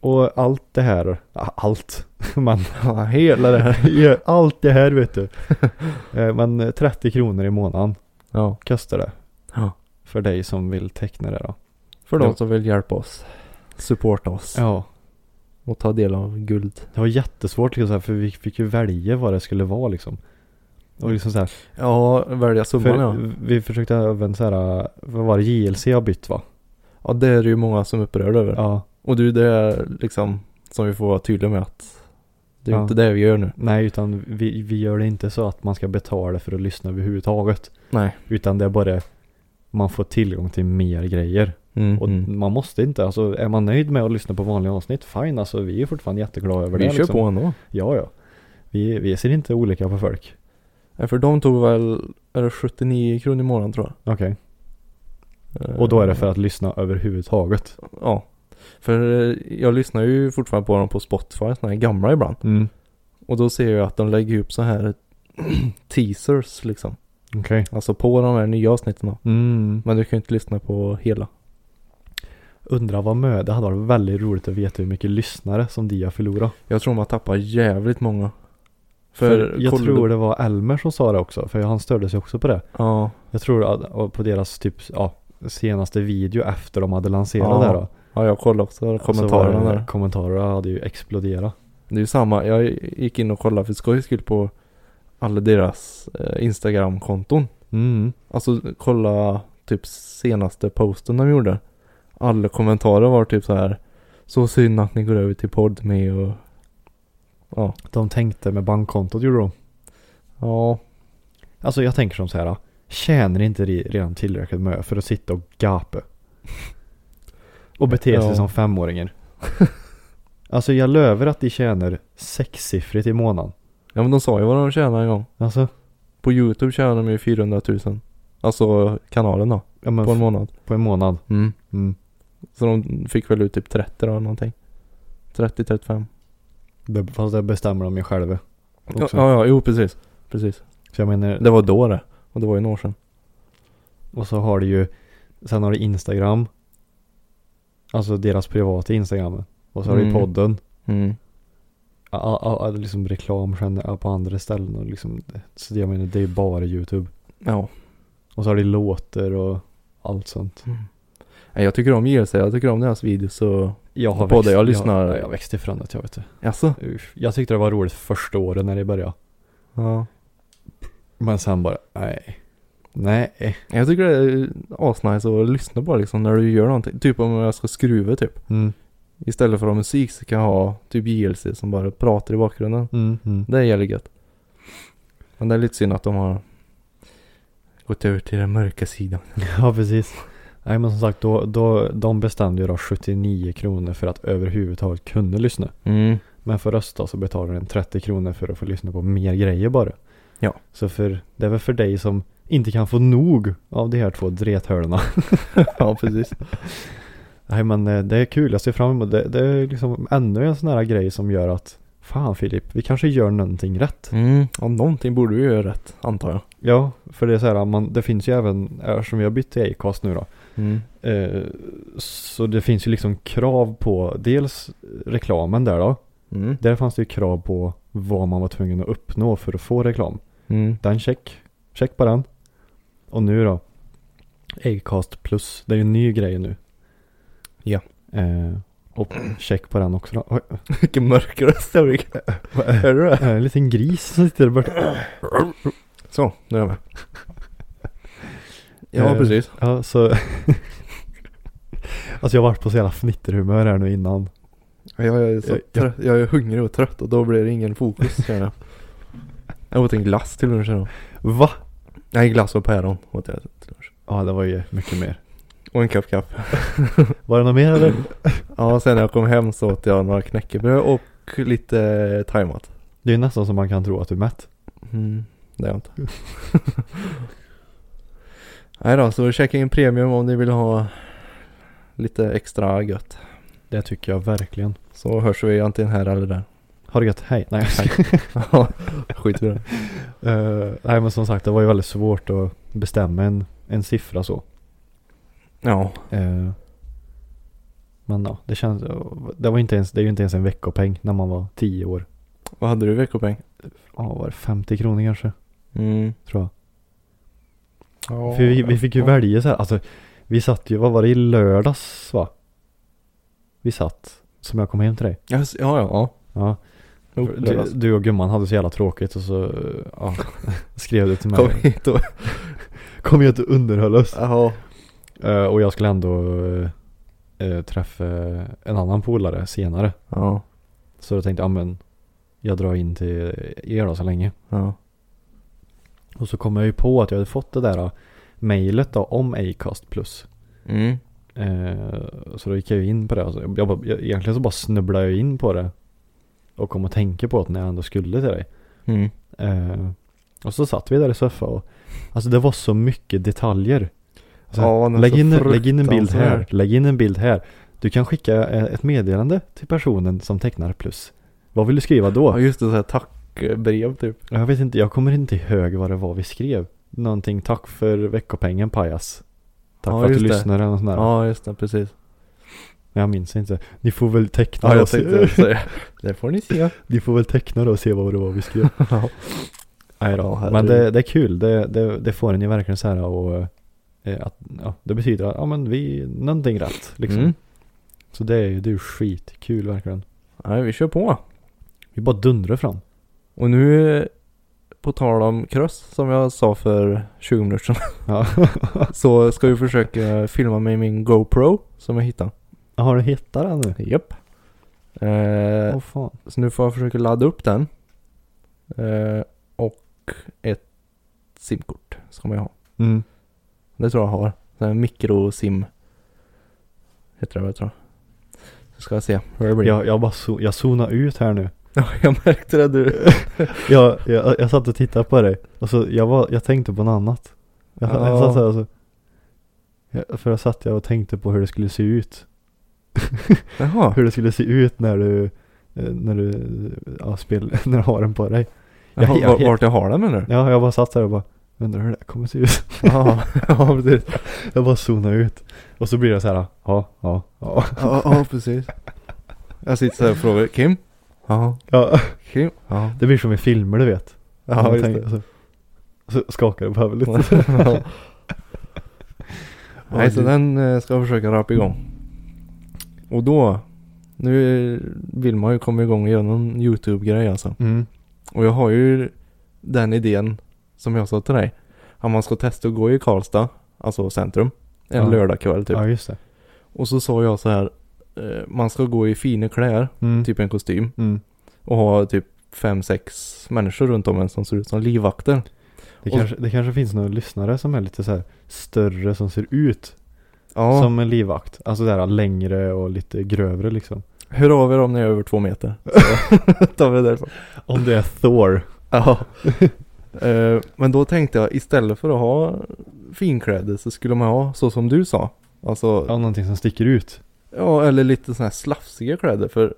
[SPEAKER 3] Och allt det här, ja, allt, man,
[SPEAKER 4] Ja, hela det här.
[SPEAKER 3] Ja, allt det här vet du. Eh, Men eh, 30 kronor i månaden
[SPEAKER 4] Ja.
[SPEAKER 3] kostar det.
[SPEAKER 4] Ja.
[SPEAKER 3] För dig som vill teckna det då.
[SPEAKER 4] För de
[SPEAKER 3] Ja.
[SPEAKER 4] som vill hjälpa oss. Supporta oss.
[SPEAKER 3] Ja.
[SPEAKER 4] Och ta del av guld.
[SPEAKER 3] Det var jättesvårt liksom så här, för vi fick ju välja vad det skulle vara liksom. Och liksom så här,
[SPEAKER 4] Ja, välja summan ja.
[SPEAKER 3] för vi försökte även så här, vad var det, JLC har bytt va?
[SPEAKER 4] Ja, det är det ju många som är upprörda över.
[SPEAKER 3] Ja.
[SPEAKER 4] Och du, det är liksom som vi får vara tydliga med att det är ju
[SPEAKER 3] Ja.
[SPEAKER 4] inte det vi gör nu.
[SPEAKER 3] Nej, utan vi, vi gör det inte så att man ska betala för att lyssna överhuvudtaget.
[SPEAKER 4] Nej.
[SPEAKER 3] Utan det är bara man får tillgång till mer grejer.
[SPEAKER 4] Mm.
[SPEAKER 3] Och man måste inte, alltså är man nöjd med att lyssna på vanliga avsnitt, fine alltså vi är fortfarande jätteglada över
[SPEAKER 4] vi
[SPEAKER 3] det. liksom.
[SPEAKER 4] kör på ändå.
[SPEAKER 3] Ja, ja. Vi, vi ser inte olika på folk.
[SPEAKER 4] Nej, för de tog väl, är det 79 kronor i månaden tror jag.
[SPEAKER 3] Okej.
[SPEAKER 4] Eh,
[SPEAKER 3] Och då är det för att lyssna överhuvudtaget.
[SPEAKER 4] Ja. För eh, jag lyssnar ju fortfarande på dem på Spotify, såna här gamla ibland.
[SPEAKER 3] Mm.
[SPEAKER 4] Och då ser jag att de lägger upp så här teasers liksom.
[SPEAKER 3] Okej.
[SPEAKER 4] Alltså på de här nya avsnitten då.
[SPEAKER 3] Mm.
[SPEAKER 4] Men du kan ju inte lyssna på hela.
[SPEAKER 3] Undrar vad mö, det hade varit väldigt roligt att veta hur mycket lyssnare som de har förlorat.
[SPEAKER 4] Jag tror man tappar jävligt många.
[SPEAKER 3] För, jag
[SPEAKER 4] kollar
[SPEAKER 3] tror
[SPEAKER 4] du-
[SPEAKER 3] det var Elmer som sa det också, för han störde sig också på det.
[SPEAKER 4] Ja.
[SPEAKER 3] Jag tror att och på deras typ, ja, senaste video efter de hade lanserat
[SPEAKER 4] Ja,
[SPEAKER 3] det då.
[SPEAKER 4] Ja, jag kollade också
[SPEAKER 3] Så
[SPEAKER 4] kommentarerna
[SPEAKER 3] var Alltså, det-
[SPEAKER 4] där.
[SPEAKER 3] Kommentarerna hade ju exploderat.
[SPEAKER 4] Det är ju samma, jag gick in och kollade för skojs skull på alla deras eh, Instagram-konton.
[SPEAKER 3] Mm.
[SPEAKER 4] Alltså kolla typ senaste posten de gjorde. Alla kommentarer var typ så här. Så synd att ni går över till podd med och ja.
[SPEAKER 3] De tänkte med bankkontot gjorde de.
[SPEAKER 4] Ja.
[SPEAKER 3] Alltså jag tänker som så här. Tjänar inte re- redan tillräckligt med för att sitta och gapa? Och bete sig
[SPEAKER 4] Ja.
[SPEAKER 3] som femåringar. alltså jag löver att de tjänar sexsiffrigt i månaden.
[SPEAKER 4] Ja men de sa ju vad de tjänar en gång.
[SPEAKER 3] Alltså,
[SPEAKER 4] På YouTube tjänar de ju 400 000. Alltså kanalen då.
[SPEAKER 3] ja, men
[SPEAKER 4] På en
[SPEAKER 3] f-
[SPEAKER 4] månad.
[SPEAKER 3] på en månad.
[SPEAKER 4] Mm.
[SPEAKER 3] Mm.
[SPEAKER 4] Så de fick väl ut typ 30 då eller någonting. 30-35.
[SPEAKER 3] Det, fast det bestämmer de ju själva.
[SPEAKER 4] Ja,
[SPEAKER 3] också.
[SPEAKER 4] ja, ja, jo precis. Precis.
[SPEAKER 3] Så jag menar,
[SPEAKER 4] Det var då det. Och det var ju några år sedan.
[SPEAKER 3] Och så har du ju, sen har du Instagram. Alltså deras privata Instagram. Och så har du ju
[SPEAKER 4] Mm.
[SPEAKER 3] podden.
[SPEAKER 4] Mm.
[SPEAKER 3] Ja, ja, ja, liksom reklam sen, ja, på andra ställen och liksom. Så det jag menar, det är ju bara YouTube.
[SPEAKER 4] Ja.
[SPEAKER 3] Och så har du låtar och allt sånt.
[SPEAKER 4] Nej, Mm. Jag tycker om JLC. Jag tycker om deras videos så...
[SPEAKER 3] Jag
[SPEAKER 4] har växt- jag-
[SPEAKER 3] Jag,
[SPEAKER 4] jag-
[SPEAKER 3] jag växte ifrån det, jag vet inte.
[SPEAKER 4] Jaså?
[SPEAKER 3] Usch. Jag tyckte det var roligt första året när det började.
[SPEAKER 4] Ja.
[SPEAKER 3] Men sen bara, nej. Nej.
[SPEAKER 4] Jag tycker det är eh, asnice att lyssna på liksom när du gör någonting. Typ om jag ska skruva typ.
[SPEAKER 3] Mm.
[SPEAKER 4] Istället för att ha musik så kan jag ha typ JLC som bara pratar i bakgrunden.
[SPEAKER 3] Mm. Mm.
[SPEAKER 4] Det är jävligt gött. Men det är lite synd att de har gått över till den mörka sidan.
[SPEAKER 3] Ja, precis. Nej, men som sagt, då, då, de bestämde ju då 79 kronor för att överhuvudtaget kunna lyssna.
[SPEAKER 4] Mm.
[SPEAKER 3] Men för oss då så betalar den 30 kronor för att få lyssna på mer grejer bara.
[SPEAKER 4] Ja.
[SPEAKER 3] Så för, det är väl för dig som inte kan få nog av de här två drethörlorna.
[SPEAKER 4] Ja, precis.
[SPEAKER 3] Nej men eh, det är kul, jag ser fram emot det. Det är liksom ännu en sån här grej som gör att Fan Filip, vi kanske gör någonting rätt.
[SPEAKER 4] Mm. Ja, någonting borde vi göra rätt, antar jag.
[SPEAKER 3] Ja, för det är så här, man, det finns ju även, eh, eftersom vi har bytt till Acast nu då,
[SPEAKER 4] Mm.
[SPEAKER 3] Eh, så det finns ju liksom krav på dels reklamen där då.
[SPEAKER 4] Mm.
[SPEAKER 3] Där fanns det ju krav på vad man var tvungen att uppnå för att få reklam.
[SPEAKER 4] Mm.
[SPEAKER 3] Den check. Check på den. Och nu då. Acast plus. Det är ju en ny grej nu.
[SPEAKER 4] Ja.
[SPEAKER 3] Eh, och check på den också då. Oj,
[SPEAKER 4] Vilken mörk röst jag fick. Hör du det?
[SPEAKER 3] eh, en liten gris som sitter där borta.
[SPEAKER 4] Så, nu är jag med. Ja,
[SPEAKER 3] Eh,
[SPEAKER 4] precis.
[SPEAKER 3] Ja, så... alltså jag har varit på så jävla fnitterhumör här nu innan.
[SPEAKER 4] Jag är, så
[SPEAKER 3] Jag-
[SPEAKER 4] trött, jag är hungrig och trött och då blir det ingen fokus känner jag. Jag åt en glass till lunch idag.
[SPEAKER 3] Va?
[SPEAKER 4] Nej, glass och päron åt jag till lunch.
[SPEAKER 3] Ja, det var ju mycket mer.
[SPEAKER 4] Och en kopp kaffe.
[SPEAKER 3] Var det något mer eller?
[SPEAKER 4] Ja, sen när jag kom hem så åt jag några knäckebröd och lite thaimat.
[SPEAKER 3] Det är ju nästan som man kan tro att du är mätt.
[SPEAKER 4] Mm, det är jag inte. Nej då, så checka in premium om ni vill ha lite extra gött.
[SPEAKER 3] Det tycker jag verkligen.
[SPEAKER 4] Så hörs vi antingen här eller där.
[SPEAKER 3] Har det gött, hej. Nej, jag skojar.
[SPEAKER 4] Ja, skit i det.
[SPEAKER 3] Eh, nej men som sagt, det var ju väldigt svårt att bestämma en, en siffra så.
[SPEAKER 4] Ja,
[SPEAKER 3] Eh, men ja, det känns, det var inte ens, det är ju inte ens en veckopeng när man var 10 år.
[SPEAKER 4] vad hade du i veckopeng?
[SPEAKER 3] Ja, vad var det 50 kronor kanske?
[SPEAKER 4] Mm.
[SPEAKER 3] Tror jag. För vi, vi fick ju välja så här, alltså vi satt ju, vad var det i lördags va? Vi satt, som jag kom hem till dig.
[SPEAKER 4] Ja, s- ja, ja. ja.
[SPEAKER 3] Ja,
[SPEAKER 4] Jo,
[SPEAKER 3] för du,
[SPEAKER 4] lördags.
[SPEAKER 3] du och gumman hade så jävla tråkigt och så ja, skrev du till mig.
[SPEAKER 4] Kom hit och...
[SPEAKER 3] Kom hit och underhöll oss.
[SPEAKER 4] Jaha.
[SPEAKER 3] Eh, och jag skulle ändå eh, träffa en annan polare senare.
[SPEAKER 4] Ja.
[SPEAKER 3] Så då tänkte jag, ja men jag drar in till er då så länge.
[SPEAKER 4] Ja.
[SPEAKER 3] Och så kom jag ju på att jag hade fått det där eh, mejlet då om Acast plus.
[SPEAKER 4] Mm.
[SPEAKER 3] Eh, så då gick jag ju in på det. Alltså, jag, bara- jag, egentligen så bara snubblade jag in på det. Och kom att tänka på det när jag ändå skulle till dig.
[SPEAKER 4] Mm.
[SPEAKER 3] Eh, och så satt vi där i soffan och alltså det var så mycket detaljer. Alltså,
[SPEAKER 4] Ja, men
[SPEAKER 3] lägg,
[SPEAKER 4] så
[SPEAKER 3] in, lägg in en bild här,
[SPEAKER 4] fruktansvärt.
[SPEAKER 3] lägg in en bild här. Du kan skicka eh, ett meddelande till personen som tecknar plus. Vad vill du skriva då?
[SPEAKER 4] Ja, just det. Så här tackbrev typ.
[SPEAKER 3] Jag vet inte, jag kommer inte ihåg vad det var vi skrev. Någonting, tack för veckopengen pajas. Tack
[SPEAKER 4] Ja,
[SPEAKER 3] för att du
[SPEAKER 4] just det.
[SPEAKER 3] lyssnar eller något sånt där.
[SPEAKER 4] Ja, just det. Precis.
[SPEAKER 3] Men jag minns inte. Ni får väl teckna
[SPEAKER 4] Ja,
[SPEAKER 3] då
[SPEAKER 4] jag
[SPEAKER 3] och se-
[SPEAKER 4] tänkte säga. Det får ni se.
[SPEAKER 3] Ni får väl teckna då och se vad det var vi skrev.
[SPEAKER 4] Ja.
[SPEAKER 3] Nej
[SPEAKER 4] Ja,
[SPEAKER 3] då.
[SPEAKER 4] herregud.
[SPEAKER 3] Men det, det är kul. Det, det, det får en ju verkligen så här och eh, att, ja, det betyder att, ja men vi, någonting rätt liksom.
[SPEAKER 4] Mm.
[SPEAKER 3] Så det är ju, det är ju skitkul verkligen.
[SPEAKER 4] Nej, vi kör på.
[SPEAKER 3] Vi bara dundrar fram.
[SPEAKER 4] Och nu eh, på tal om cross som jag sa för 20 minuter sedan.
[SPEAKER 3] Ja.
[SPEAKER 4] Så ska vi försöka filma med min GoPro som jag hittade.
[SPEAKER 3] Har du hittat den nu?
[SPEAKER 4] Japp.
[SPEAKER 3] Åh
[SPEAKER 4] Eh,
[SPEAKER 3] fan.
[SPEAKER 4] så nu får jag försöka ladda upp den. Eh, och ett simkort ska man ju ha.
[SPEAKER 3] Mm.
[SPEAKER 4] Det tror jag har. Sån här mikrosim. Heter det vad jag tror. Så ska jag se hur det blir.
[SPEAKER 3] Jag, jag bara zo- jag zonade ut här nu.
[SPEAKER 4] Ja, jag märkte det du.
[SPEAKER 3] Jag, jag, jag satt och tittade på dig och så jag, var, jag tänkte på något annat. Jag, jag
[SPEAKER 4] Ja.
[SPEAKER 3] satt så här och så. Jag, för jag satt jag och tänkte på hur det skulle se ut.
[SPEAKER 4] Jaha.
[SPEAKER 3] Hur det skulle se ut när du, eh, när du, ja, spel, när du har den på dig.
[SPEAKER 4] Jag,
[SPEAKER 3] Jag- jag-
[SPEAKER 4] vart, vart jag har den menar du?
[SPEAKER 3] Ja, jag bara satt där och bara undrar hur det här kommer se ut.
[SPEAKER 4] Ja, ja precis.
[SPEAKER 3] Jag bara zonade ut. Och så blir det så här, ja, ja, ja.
[SPEAKER 4] Ja, ja precis. Jag sitter så här och frågar Kim? Ja.
[SPEAKER 3] ja.
[SPEAKER 4] Kim? Ja.
[SPEAKER 3] Det blir som i filmer du vet.
[SPEAKER 4] Ja,
[SPEAKER 3] Man
[SPEAKER 4] just
[SPEAKER 3] tänker
[SPEAKER 4] det.
[SPEAKER 3] Så, så skakar det på huvudet lite.
[SPEAKER 4] Ja. Nej, så
[SPEAKER 3] Oj.
[SPEAKER 4] den eh, ska jag försöka rappa igång. Och då, nu vill man ju komma igång och göra någon YouTube-grej alltså.
[SPEAKER 3] Mm.
[SPEAKER 4] Och jag har ju den idén som jag sa till dig. Att man ska testa att gå i Karlstad, alltså centrum, en
[SPEAKER 3] Ja.
[SPEAKER 4] lördagkväll typ.
[SPEAKER 3] Ja, just det.
[SPEAKER 4] Och så sa jag så här, eh, man ska gå i fina kläder,
[SPEAKER 3] Mm.
[SPEAKER 4] typ en kostym.
[SPEAKER 3] Mm.
[SPEAKER 4] Och ha typ fem, sex människor runt om en som ser ut som livvakter.
[SPEAKER 3] Det,
[SPEAKER 4] Och-
[SPEAKER 3] kanske, det kanske finns några lyssnare som är lite så här större som ser ut
[SPEAKER 4] Ja,
[SPEAKER 3] som en livvakt. Alltså där längre och lite grövre liksom.
[SPEAKER 4] hör av er om ni är över två meter. Så tar vi det därifrån.
[SPEAKER 3] Om det är Thor.
[SPEAKER 4] Ja. Eh, Men då tänkte jag istället för att ha finkläder så skulle man ha så som du sa. Alltså,
[SPEAKER 3] Ja, någonting som sticker ut.
[SPEAKER 4] ja eller lite sådana här slafsiga kläder. För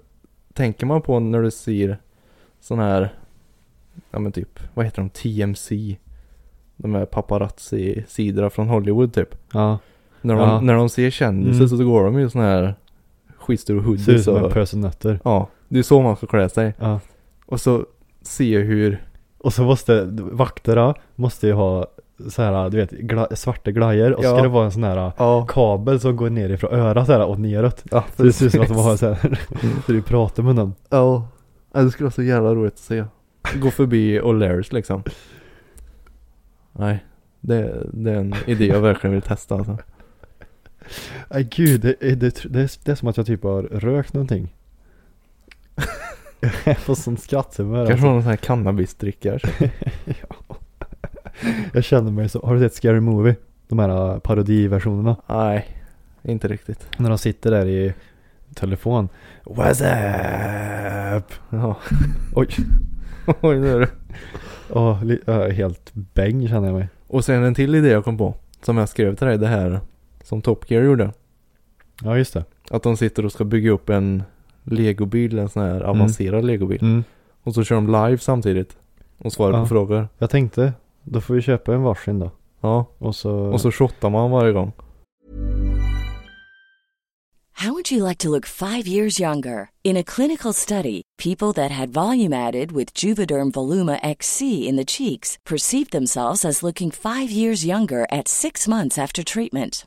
[SPEAKER 4] tänker man på när du ser sån här, ja men typ, vad heter de, TMC? De här paparazzi-sidorna från Hollywood typ.
[SPEAKER 3] Ja,
[SPEAKER 4] När de,
[SPEAKER 3] Ja.
[SPEAKER 4] när de ser kändisar
[SPEAKER 3] Mm.
[SPEAKER 4] så går de ju i sån här skitstor
[SPEAKER 3] ser ut
[SPEAKER 4] hoodies
[SPEAKER 3] som en
[SPEAKER 4] och,
[SPEAKER 3] pöse nötter.
[SPEAKER 4] Ja, det är så man ska klä sig.
[SPEAKER 3] Ja.
[SPEAKER 4] Och så se hur
[SPEAKER 3] Och så måste vakterna måste ju ha så här, du vet, gla, svarta glajjor och så
[SPEAKER 4] Ja.
[SPEAKER 3] ska det vara en sån här uh,
[SPEAKER 4] Ja,
[SPEAKER 3] kabel som går ner ifrån örat så här och neråt.
[SPEAKER 4] ja
[SPEAKER 3] Så det ser ut som att de har så här, så du pratar med någon.
[SPEAKER 4] Ja, Ja, det skulle vara så jävla roligt att se. Gå förbi O'Learys liksom. Nej, Det, det är en idé jag verkligen vill testa alltså.
[SPEAKER 3] Nej Äh, gud, det, är- det, tr- det, är, det är som att jag typ har rökt någonting. jag får sånt skratthumör.
[SPEAKER 4] Kanske
[SPEAKER 3] Alltså.
[SPEAKER 4] var någon sån här cannabisdricka. alltså.
[SPEAKER 3] Jag känner mig så. Har du sett Scary Movie? De här äh, parodiversionerna.
[SPEAKER 4] Nej, inte riktigt.
[SPEAKER 3] När de sitter där i telefon. What's up?
[SPEAKER 4] Ja.
[SPEAKER 3] Oj,
[SPEAKER 4] Oj, nu är det.
[SPEAKER 3] oh, li- jag är helt bäng känner jag mig.
[SPEAKER 4] Och sen en till idé jag kom på. Som jag skrev till dig, det här som Top Gear gjorde.
[SPEAKER 3] Ja just det.
[SPEAKER 4] Att de sitter och ska bygga upp en legobil, en sån här avancerad legobil.
[SPEAKER 3] Mm.
[SPEAKER 4] Och så kör de live samtidigt. Och svarar
[SPEAKER 3] Ja.
[SPEAKER 4] på frågor.
[SPEAKER 3] Jag tänkte, då får vi köpa en varsin då.
[SPEAKER 4] Ja.
[SPEAKER 3] Och så...
[SPEAKER 4] Och så shottar man varje gång.
[SPEAKER 5] How would you like to look five years younger? In a clinical study, people that had volume added with Juvederm Voluma XC in the cheeks perceived themselves as looking five years younger at six months after treatment.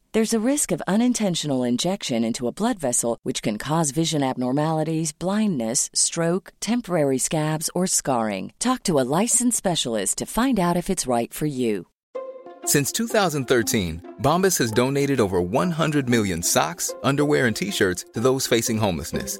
[SPEAKER 5] There's a risk of unintentional injection into a blood vessel, which can cause vision abnormalities, blindness, stroke, temporary scabs, or scarring. Talk to a licensed specialist to find out if it's right for you.
[SPEAKER 6] Since 2013, Bombas has donated over 100 million socks, underwear, and t shirts to those facing homelessness.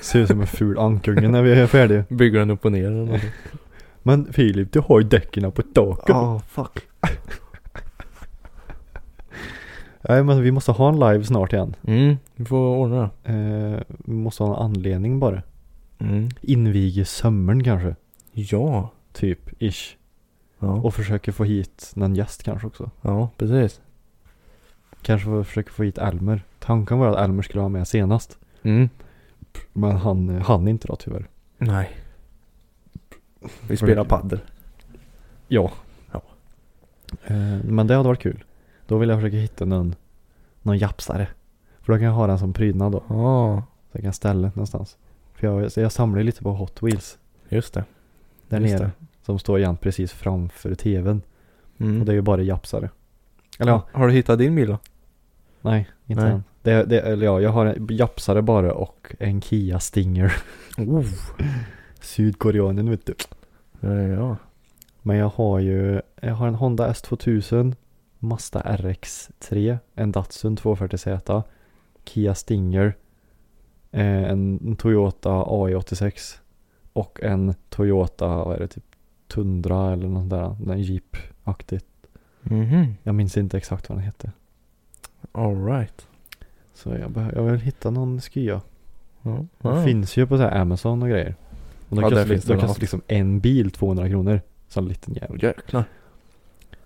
[SPEAKER 3] ser ut som en ful ankunge när vi är färdiga.
[SPEAKER 4] Bygger den upp och ner eller något.
[SPEAKER 3] Men Filip, du har ju däcken på taket.
[SPEAKER 4] Ja, fuck.
[SPEAKER 3] Nej men vi måste ha en live snart igen.
[SPEAKER 4] Mm, vi får ordna det.
[SPEAKER 3] Eh, vi måste ha en anledning bara.
[SPEAKER 4] Mm.
[SPEAKER 3] Inviga sömmern kanske.
[SPEAKER 4] Ja.
[SPEAKER 3] Typ, ish.
[SPEAKER 4] Ja.
[SPEAKER 3] Och försöker få hit någon gäst kanske också.
[SPEAKER 4] ja, precis.
[SPEAKER 3] Kanske få- försöker få hit Elmer. Tanken var att Elmer skulle vara med senast.
[SPEAKER 4] Mm.
[SPEAKER 3] Men han eh, hann inte då tyvärr.
[SPEAKER 4] Nej. Vi
[SPEAKER 3] spelar
[SPEAKER 4] paddel.
[SPEAKER 3] Ja.
[SPEAKER 4] Ja.
[SPEAKER 3] Eh, men det hade varit kul. Då vill jag försöka hitta någon, någon japsare. För då kan jag ha den som prydnad då.
[SPEAKER 4] Ja,
[SPEAKER 3] Så jag kan ställa den någonstans. För jag, så jag samlar ju lite på Hot Wheels.
[SPEAKER 4] just det.
[SPEAKER 3] Där
[SPEAKER 4] Just
[SPEAKER 3] nere.
[SPEAKER 4] det.
[SPEAKER 3] Som står jämt precis framför tvn.
[SPEAKER 4] Mm.
[SPEAKER 3] Och det är ju bara japsare. Eller ja,
[SPEAKER 4] Har du hittat din bil då?
[SPEAKER 3] nej, inte
[SPEAKER 4] Nej.
[SPEAKER 3] än. Det, det, eller ja, jag har en japsare bara och en Kia Stinger.
[SPEAKER 4] Oh.
[SPEAKER 3] Sydkoreanen vet du.
[SPEAKER 4] Ja, ja.
[SPEAKER 3] Men jag har ju, jag har en Honda S2000, Mazda RX3, en Datsun 240Z, Kia Stinger, eh, en Toyota AI86 och en Toyota, vad är det, typ Tundra eller något där, en Jeep-aktigt.
[SPEAKER 4] Mhm.
[SPEAKER 3] Jag minns inte exakt vad den hette.
[SPEAKER 4] Alright.
[SPEAKER 3] Så jag, behö- jag vill hitta någon skya.
[SPEAKER 4] Ja.
[SPEAKER 3] Den
[SPEAKER 4] Ja.
[SPEAKER 3] finns ju på så här Amazon och grejer. Och då
[SPEAKER 4] Ja, där
[SPEAKER 3] kostar,
[SPEAKER 4] finns
[SPEAKER 3] liksom,
[SPEAKER 4] det
[SPEAKER 3] då kostar
[SPEAKER 4] allt.
[SPEAKER 3] liksom en bil 200 kronor. Så en liten jävel.
[SPEAKER 4] Jäklar.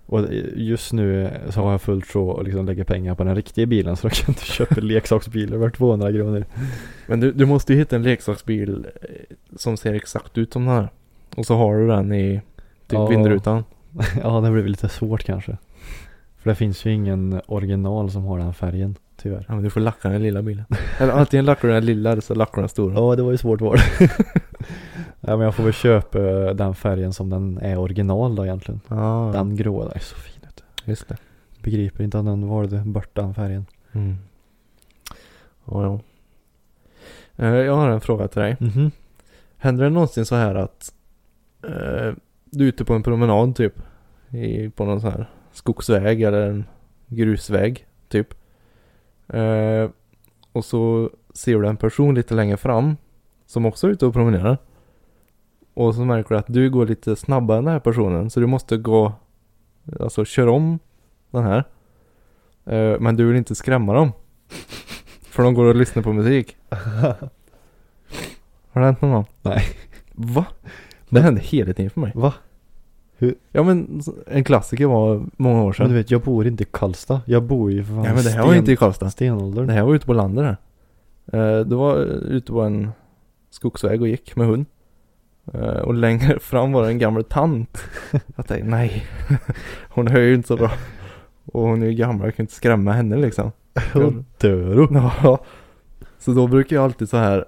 [SPEAKER 3] Och just nu så har jag fullt så att liksom lägga pengar på den riktiga bilen så då kan du köpa leksaksbilar för 200 kronor.
[SPEAKER 4] Men du, du måste ju hitta en leksaksbil eh, som ser exakt ut som den här. Och så har du den i typ
[SPEAKER 3] Ja.
[SPEAKER 4] vindrutan.
[SPEAKER 3] ja, det blir väl lite svårt kanske. För det finns ju ingen original som har den färgen, tyvärr.
[SPEAKER 4] Ja men du får lacka den lilla bilen. Eller antingen lackar du den lilla eller så lackar du den stora.
[SPEAKER 3] Ja, det var ju svårt val. Nej, men jag får väl köpa den färgen som den är original då egentligen.
[SPEAKER 4] Ah,
[SPEAKER 3] Den gråa där är så fin ut.
[SPEAKER 4] just det.
[SPEAKER 3] Begriper inte att någon valde bort den färgen.
[SPEAKER 4] Mm. Ja, ja. Eh, Jag har en fråga till dig.
[SPEAKER 3] Mhm.
[SPEAKER 4] Händer det någonsin så här att eh, du är ute på en promenad typ? I, på någon sån här skogsväg eller en grusväg typ. Eh, och så ser du en person lite längre fram som också är ute och promenerar. Och så märker du att du går lite snabbare än den här personen. Så du måste gå, alltså köra om den här. Eh, Men du vill inte skrämma dem. För de går och lyssnar på musik. Har det hänt någon gång?
[SPEAKER 3] Nej.
[SPEAKER 4] Va? Det hände hela tiden för mig.
[SPEAKER 3] Va?
[SPEAKER 4] Ja men en klassiker var många år sedan.
[SPEAKER 3] Men du vet, jag bor inte i Karlstad. Jag bor ju för fan
[SPEAKER 4] Nej men det här var inte i Karlstad.
[SPEAKER 3] stenåldern.
[SPEAKER 4] Det här var ute på landet det. här. Eh, Det var ute på en skogsväg och gick med hund. Eh, Och längre fram var det en gammal tant. Jag tänkte nej, hon hör ju inte så bra. Och hon är ju gammal, jag kan inte skrämma henne liksom.
[SPEAKER 3] Hon dör upp.
[SPEAKER 4] Ja. Så då brukar jag alltid så här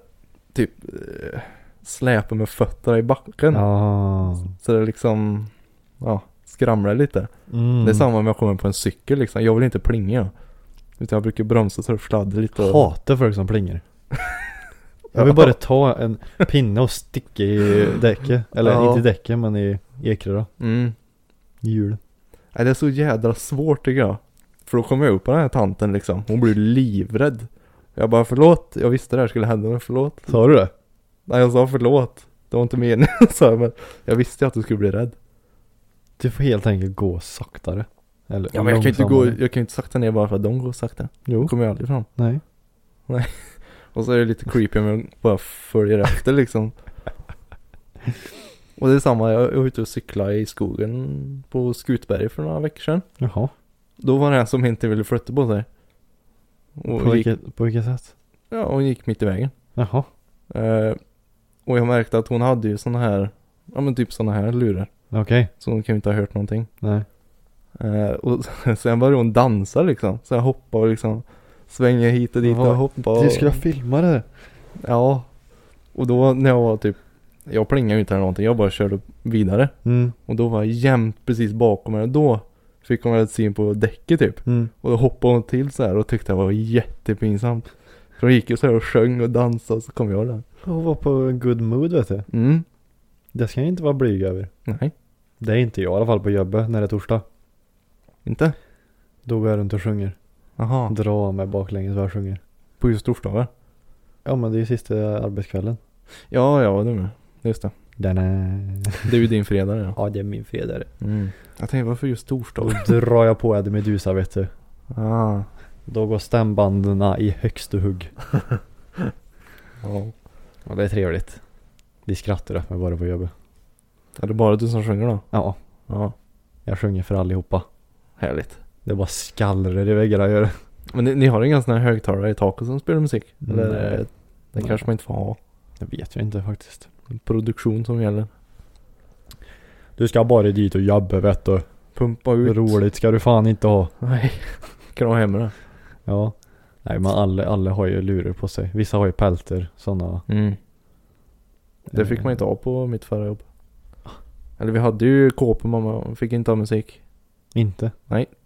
[SPEAKER 4] typ eh, släpa med fötterna i backen.
[SPEAKER 3] Ja.
[SPEAKER 4] Så det liksom, ja, skramlar lite.
[SPEAKER 3] Mm.
[SPEAKER 4] Det är samma om jag kommer på en cykel liksom. Jag vill inte plinga. Utan jag brukar bromsa så det fladdrar lite. och-
[SPEAKER 3] Hatar folk som plingar. Jag vill bara ta en pinne och sticka i däcket. Eller
[SPEAKER 4] Ja.
[SPEAKER 3] inte i däcket men i ekrarna.
[SPEAKER 4] Mm.
[SPEAKER 3] I hjulet.
[SPEAKER 4] Nej, det är så jädra svårt tycker jag. För då kommer jag upp på den här tanten liksom. Hon blir livrädd. Jag bara förlåt, jag visste det här skulle hända men förlåt.
[SPEAKER 3] Sa du det?
[SPEAKER 4] Nej jag sa förlåt. Det var inte meningen så här, men jag visste ju att du skulle bli rädd.
[SPEAKER 3] Du får helt enkelt gå saktare. Eller
[SPEAKER 4] Ja men jag kan ju inte gå,
[SPEAKER 3] långsammare.
[SPEAKER 4] jag kan ju inte sakta ner bara för att de går sakta. Då
[SPEAKER 3] Jo.
[SPEAKER 4] kommer jag aldrig fram.
[SPEAKER 3] Nej.
[SPEAKER 4] Och så är det lite creepy om jag bara följer efter liksom. Och det är samma, jag jag var ute och cyklade i skogen på Skutberget för några veckor sedan.
[SPEAKER 3] Jaha.
[SPEAKER 4] Då var det en som inte ville flytta på sig. Och
[SPEAKER 3] På
[SPEAKER 4] gick,
[SPEAKER 3] vilket, på vilket sätt?
[SPEAKER 4] ja, hon gick mitt i vägen.
[SPEAKER 3] Jaha.
[SPEAKER 4] Eh, och jag märkte att hon hade ju såna här, ja men typ såna här lurar.
[SPEAKER 3] Okej.
[SPEAKER 4] Så hon kan ju inte ha hört någonting.
[SPEAKER 3] Nej.
[SPEAKER 4] Eh, och sen började hon dansa liksom. Så jag hoppade och liksom svängde hit och dit och
[SPEAKER 3] Vad-
[SPEAKER 4] hoppade. och-
[SPEAKER 3] Du skulle ha filmat det. där.
[SPEAKER 4] Ja. Och då när jag var typ, jag plingade ju inte eller någonting. Jag bara körde vidare.
[SPEAKER 3] Mm.
[SPEAKER 4] Och då var jag jämt precis bakom henne. Då fick hon ett syn på däcket typ.
[SPEAKER 3] Mm.
[SPEAKER 4] Och då hoppade hon till så här och tyckte det var jättepinsamt. Så hon gick ju så här och sjöng och dansade och så kom jag där.
[SPEAKER 3] Hon var på en good mood vet du.
[SPEAKER 4] Mm.
[SPEAKER 3] Det ska jag inte vara blyg över.
[SPEAKER 4] Nej,
[SPEAKER 3] Det är inte jag i alla fall på jobbet när det är torsdag.
[SPEAKER 4] inte?
[SPEAKER 3] Då går jag runt och sjunger.
[SPEAKER 4] Jaha.
[SPEAKER 3] Dra mig baklänges vad jag sjunger.
[SPEAKER 4] På just torsdagar?
[SPEAKER 3] Ja men det är ju sista arbetskvällen.
[SPEAKER 4] Ja, ja, det med. Just det.
[SPEAKER 3] Den är...
[SPEAKER 4] Det är ju din fredag ja.
[SPEAKER 3] Ja det är min fredag
[SPEAKER 4] Mm. Jag tänkte varför just
[SPEAKER 3] Då
[SPEAKER 4] torsdagar?
[SPEAKER 3] drar jag på Eddie Meduza vet du.
[SPEAKER 4] Ah.
[SPEAKER 3] Då går stämbanden i högsta hugg.
[SPEAKER 4] Ja.
[SPEAKER 3] Ja det är trevligt. De skrattar åt mig bara på jobbet.
[SPEAKER 4] Är det bara du som sjunger då?
[SPEAKER 3] Ja,
[SPEAKER 4] Ja.
[SPEAKER 3] jag sjunger för allihopa.
[SPEAKER 4] Härligt.
[SPEAKER 3] Det bara skallrar i väggarna gör det.
[SPEAKER 4] Men ni, ni har ingen sån här högtalare i taket som spelar musik? Eller
[SPEAKER 3] Nej.
[SPEAKER 4] det, det
[SPEAKER 3] Nej.
[SPEAKER 4] kanske man inte får ha?
[SPEAKER 3] Det vet jag inte faktiskt.
[SPEAKER 4] Produktion som gäller.
[SPEAKER 3] Du ska bara dit och jobba vet du.
[SPEAKER 4] Pumpa ut.
[SPEAKER 3] Roligt ska du fan inte ha.
[SPEAKER 4] Nej. Kan du ha hemma det?
[SPEAKER 3] Ja. Nej men alla, alla har ju lurar på sig. Vissa har ju pälter, sådana.
[SPEAKER 4] Mm. Det fick man inte ha på mitt förra jobb. Ah. Eller vi hade ju kåpor mamma fick inte ha musik.
[SPEAKER 3] Inte?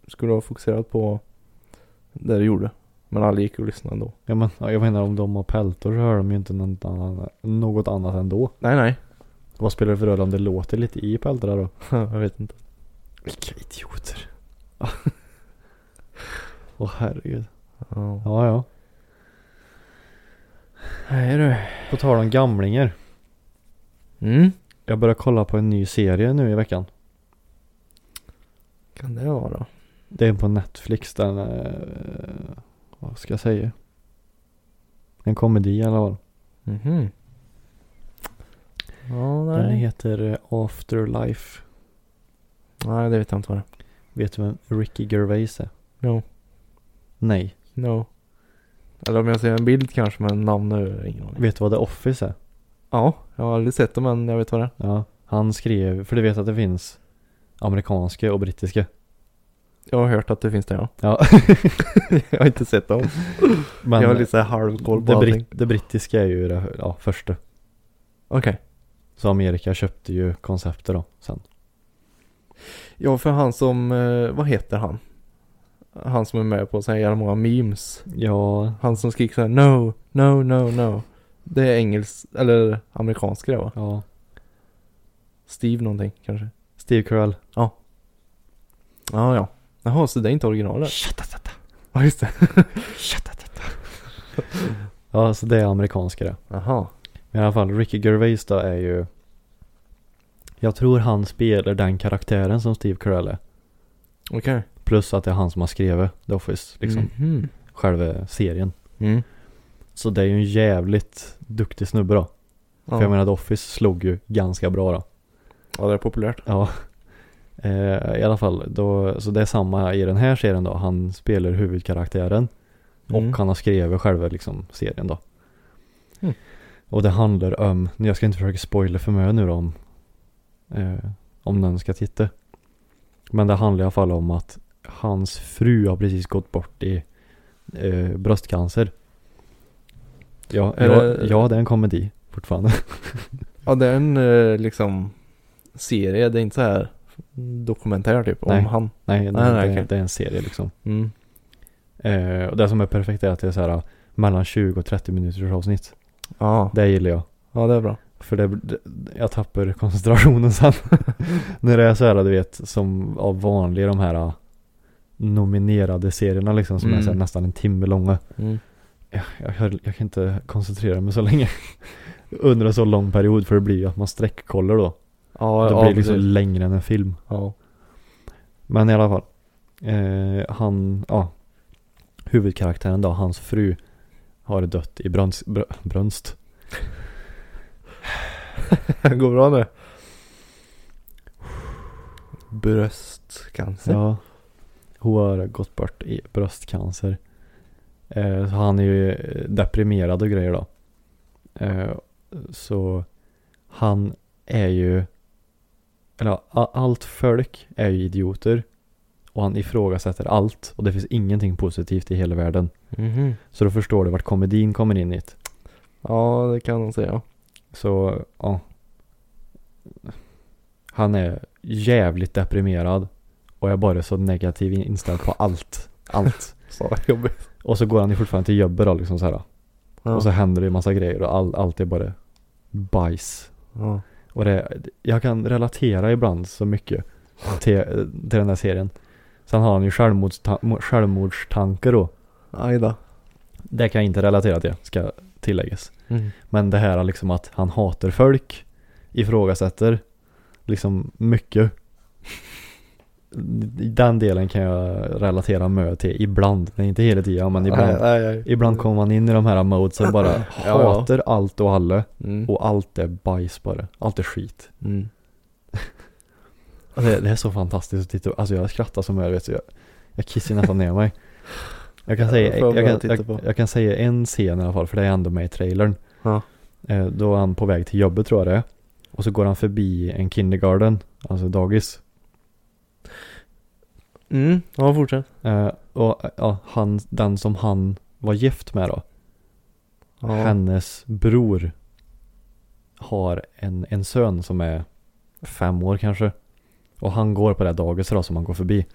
[SPEAKER 4] Skulle ha fokuserat på det du gjorde. Men alla gick och lyssnade ändå.
[SPEAKER 3] Ja men ja, jag menar om de har pältor så hör de ju inte något annat, något annat ändå.
[SPEAKER 4] Nej nej.
[SPEAKER 3] Vad spelar det för roll om det låter lite i pältorna då?
[SPEAKER 4] jag vet inte.
[SPEAKER 3] Vilka idioter. Åh herregud.
[SPEAKER 4] Ja.
[SPEAKER 3] Ja ja.
[SPEAKER 4] Nej du.
[SPEAKER 3] På tal om gamlingar.
[SPEAKER 4] Mm.
[SPEAKER 3] Jag börjar kolla på en ny serie nu i veckan.
[SPEAKER 4] Kan det vara då?
[SPEAKER 3] Det är på Netflix den, eh, vad ska jag säga? En komedi i alla fall.
[SPEAKER 4] Mhm. Ja
[SPEAKER 3] Den
[SPEAKER 4] nej.
[SPEAKER 3] heter eh, Afterlife.
[SPEAKER 4] Nej det vet jag inte vad det är.
[SPEAKER 3] Vet du vem Ricky Gervais är?
[SPEAKER 4] No.
[SPEAKER 3] Nej.
[SPEAKER 4] No. Eller om jag ser en bild kanske men namn är det ingen aning.
[SPEAKER 3] Vet du vad The Office är?
[SPEAKER 4] Ja. Jag har aldrig sett dem men jag vet vad det är.
[SPEAKER 3] Ja. Han skrev, för du vet att det finns amerikanska och brittiska.
[SPEAKER 4] Jag har hört att det finns det ja.
[SPEAKER 3] Ja.
[SPEAKER 4] jag har inte sett dem.
[SPEAKER 3] Men
[SPEAKER 4] jag har lite så här halvkoll på
[SPEAKER 3] det,
[SPEAKER 4] allting.
[SPEAKER 3] britt, det brittiska är ju det ja, första.
[SPEAKER 4] Okej.
[SPEAKER 3] Så Amerika köpte ju konceptet då sen.
[SPEAKER 4] Ja, för han som, eh, vad heter han? Han som är med på så här jävla många memes.
[SPEAKER 3] Ja,
[SPEAKER 4] Han som skriker så här no, no, no, no. Det är engelsk, eller amerikansk det va?
[SPEAKER 3] ja.
[SPEAKER 4] Steve någonting kanske.
[SPEAKER 3] Steve Carell.
[SPEAKER 4] Ja, ja. Jaha, så det är inte originalet? Ja, just det.
[SPEAKER 3] Ja, så det är amerikanska det.
[SPEAKER 4] Jaha.
[SPEAKER 3] Men i alla fall, Ricky Gervais då är ju Jag tror han spelar den karaktären som Steve Carell är.
[SPEAKER 4] Okej.
[SPEAKER 3] Plus att det är han som har skrivit The Office, liksom
[SPEAKER 4] Mhm.
[SPEAKER 3] själva serien.
[SPEAKER 4] Mm.
[SPEAKER 3] Så det är ju en jävligt duktig snubbe då.
[SPEAKER 4] Ja.
[SPEAKER 3] För jag menar The Office slog ju ganska bra då.
[SPEAKER 4] ja, det är populärt.
[SPEAKER 3] Ja. Eh, I alla fall, då, så det är samma i den här serien då. Han spelar huvudkaraktären
[SPEAKER 4] Mm.
[SPEAKER 3] och han har skrivit själva liksom serien då.
[SPEAKER 4] Mm.
[SPEAKER 3] Och det handlar om, nu, jag ska inte försöka spoila för mycket nu då om, eh, om någon ska titta. Men det handlar i alla fall om att hans fru har precis gått bort i eh, bröstcancer. Ja,
[SPEAKER 4] Är
[SPEAKER 3] ja,
[SPEAKER 4] det-
[SPEAKER 3] ja, det är en komedi fortfarande.
[SPEAKER 4] Ja, det är en eh, liksom serie. Det är inte så här dokumentär typ
[SPEAKER 3] Nej.
[SPEAKER 4] om han.
[SPEAKER 3] nej, det,
[SPEAKER 4] Ah, Nej, nej,
[SPEAKER 3] det,
[SPEAKER 4] okej.
[SPEAKER 3] det är en serie liksom.
[SPEAKER 4] Mm.
[SPEAKER 3] Eh, och det som är perfekt är att det är så här mellan 20 och 30 minuters avsnitt.
[SPEAKER 4] Ja.
[SPEAKER 3] Det gillar jag.
[SPEAKER 4] ja, det är bra.
[SPEAKER 3] För det, det, jag tappar koncentrationen sen. När det är så här, du vet, som av vanliga de här eh, nominerade serierna liksom som är så här,
[SPEAKER 4] Mm.
[SPEAKER 3] nästan en timme långa.
[SPEAKER 4] Mm.
[SPEAKER 3] Jag, jag, hör- jag kan inte koncentrera mig så länge. Under en så lång period för det blir ju att man sträckkollar då.
[SPEAKER 4] Ja,
[SPEAKER 3] det
[SPEAKER 4] ja,
[SPEAKER 3] blir liksom
[SPEAKER 4] precis.
[SPEAKER 3] längre än en film.
[SPEAKER 4] ja.
[SPEAKER 3] Men i alla fall. Eh, han, ja. Huvudkaraktären då, hans fru har dött i brönst. Brö, brönst.
[SPEAKER 4] Går bra nu? Bröstcancer.
[SPEAKER 3] Ja. Hon har gått bort i bröstcancer. Eh, så han är ju eh, deprimerad och grejer då. Eh, så han är ju, eller ja, a- allt folk är ju idioter. Och han ifrågasätter allt och det finns ingenting positivt i hela världen.
[SPEAKER 4] Mhm.
[SPEAKER 3] Så då förstår du vart komedin kommer in i det.
[SPEAKER 4] Ja, det kan man säga.
[SPEAKER 3] Så, ja. Han är jävligt deprimerad. Och är bara så negativ inställd på allt. Allt.
[SPEAKER 4] Så jobbigt.
[SPEAKER 3] Och så går han ju fortfarande till jobbet då liksom så här.
[SPEAKER 4] Ja.
[SPEAKER 3] Och så händer det ju massa grejer och all, allt är bara bajs.
[SPEAKER 4] ja.
[SPEAKER 3] Och det, jag kan relatera ibland så mycket till, till den där serien. Sen har han ju självmordsta- självmordstankar då.
[SPEAKER 4] Aj då.
[SPEAKER 3] Det kan jag inte relatera till, ska tilläggas. Men det här är liksom att han hatar folk, ifrågasätter liksom mycket. Den delen kan jag relatera med till ibland, nej inte hela tiden men ibland.
[SPEAKER 4] Aj, aj, aj.
[SPEAKER 3] Ibland kommer man in i de här modesen bara
[SPEAKER 4] Ja, ja.
[SPEAKER 3] hatar allt och alla
[SPEAKER 4] Mm.
[SPEAKER 3] och allt är bajs bara, allt är skit.
[SPEAKER 4] Mm.
[SPEAKER 3] Och Det, det är så fantastiskt att titta på, alltså jag skrattar som jag vet, så jag, jag kissar nästan ner mig. Jag kan, säga,
[SPEAKER 4] får jag
[SPEAKER 3] jag,
[SPEAKER 4] börja
[SPEAKER 3] kan,
[SPEAKER 4] titta
[SPEAKER 3] jag,
[SPEAKER 4] på?
[SPEAKER 3] jag kan säga en scen i alla fall, för det är ändå med i trailern.
[SPEAKER 4] Ja.
[SPEAKER 3] Eh, Då är han på väg till jobbet tror jag det är. Och så går han förbi en kindergarten, alltså dagis.
[SPEAKER 4] Mm. Ja, fortsätt.
[SPEAKER 3] Eh, Och eh, ja, han, den som han var gift med då,
[SPEAKER 4] Ja.
[SPEAKER 3] hennes bror har en, en son som är fem år kanske. Och han går på det här dagiset då som han går förbi.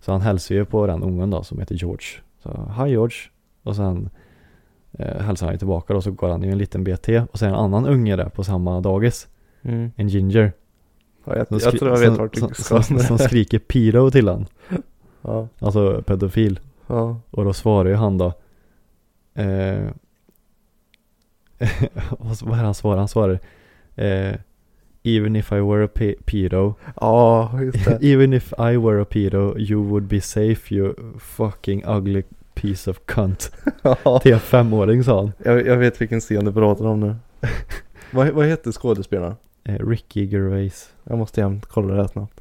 [SPEAKER 3] Så han hälsar ju på den ungen då som heter George. Så, hi George. Och sen eh, hälsar han ju tillbaka då så går han ju en liten BT. Och sen en annan unge där på samma dagis,
[SPEAKER 4] Mm.
[SPEAKER 3] en ginger.
[SPEAKER 4] Ja, jag,
[SPEAKER 3] Som
[SPEAKER 4] jag
[SPEAKER 3] skri-
[SPEAKER 4] tror jag vet
[SPEAKER 3] som-
[SPEAKER 4] vart du
[SPEAKER 3] som-
[SPEAKER 4] ska
[SPEAKER 3] som,
[SPEAKER 4] med det
[SPEAKER 3] som
[SPEAKER 4] här.
[SPEAKER 3] skriker piro till han
[SPEAKER 4] Ja.
[SPEAKER 3] Alltså pedofil
[SPEAKER 4] Ja.
[SPEAKER 3] Och då svarar ju han då eh, vad, vad är det han svarar? Han svarar eh, Even if I were a pe- pedo
[SPEAKER 4] Ja, just det.
[SPEAKER 3] Even if I were a pedo You would be safe you fucking ugly piece of cunt
[SPEAKER 4] Ja.
[SPEAKER 3] Till en femåring sa han
[SPEAKER 4] jag, jag vet vilken scen du pratar om nu. vad, vad heter skådespelaren?
[SPEAKER 3] eh, Ricky Gervais
[SPEAKER 4] Jag måste jämt kolla det här snabbt.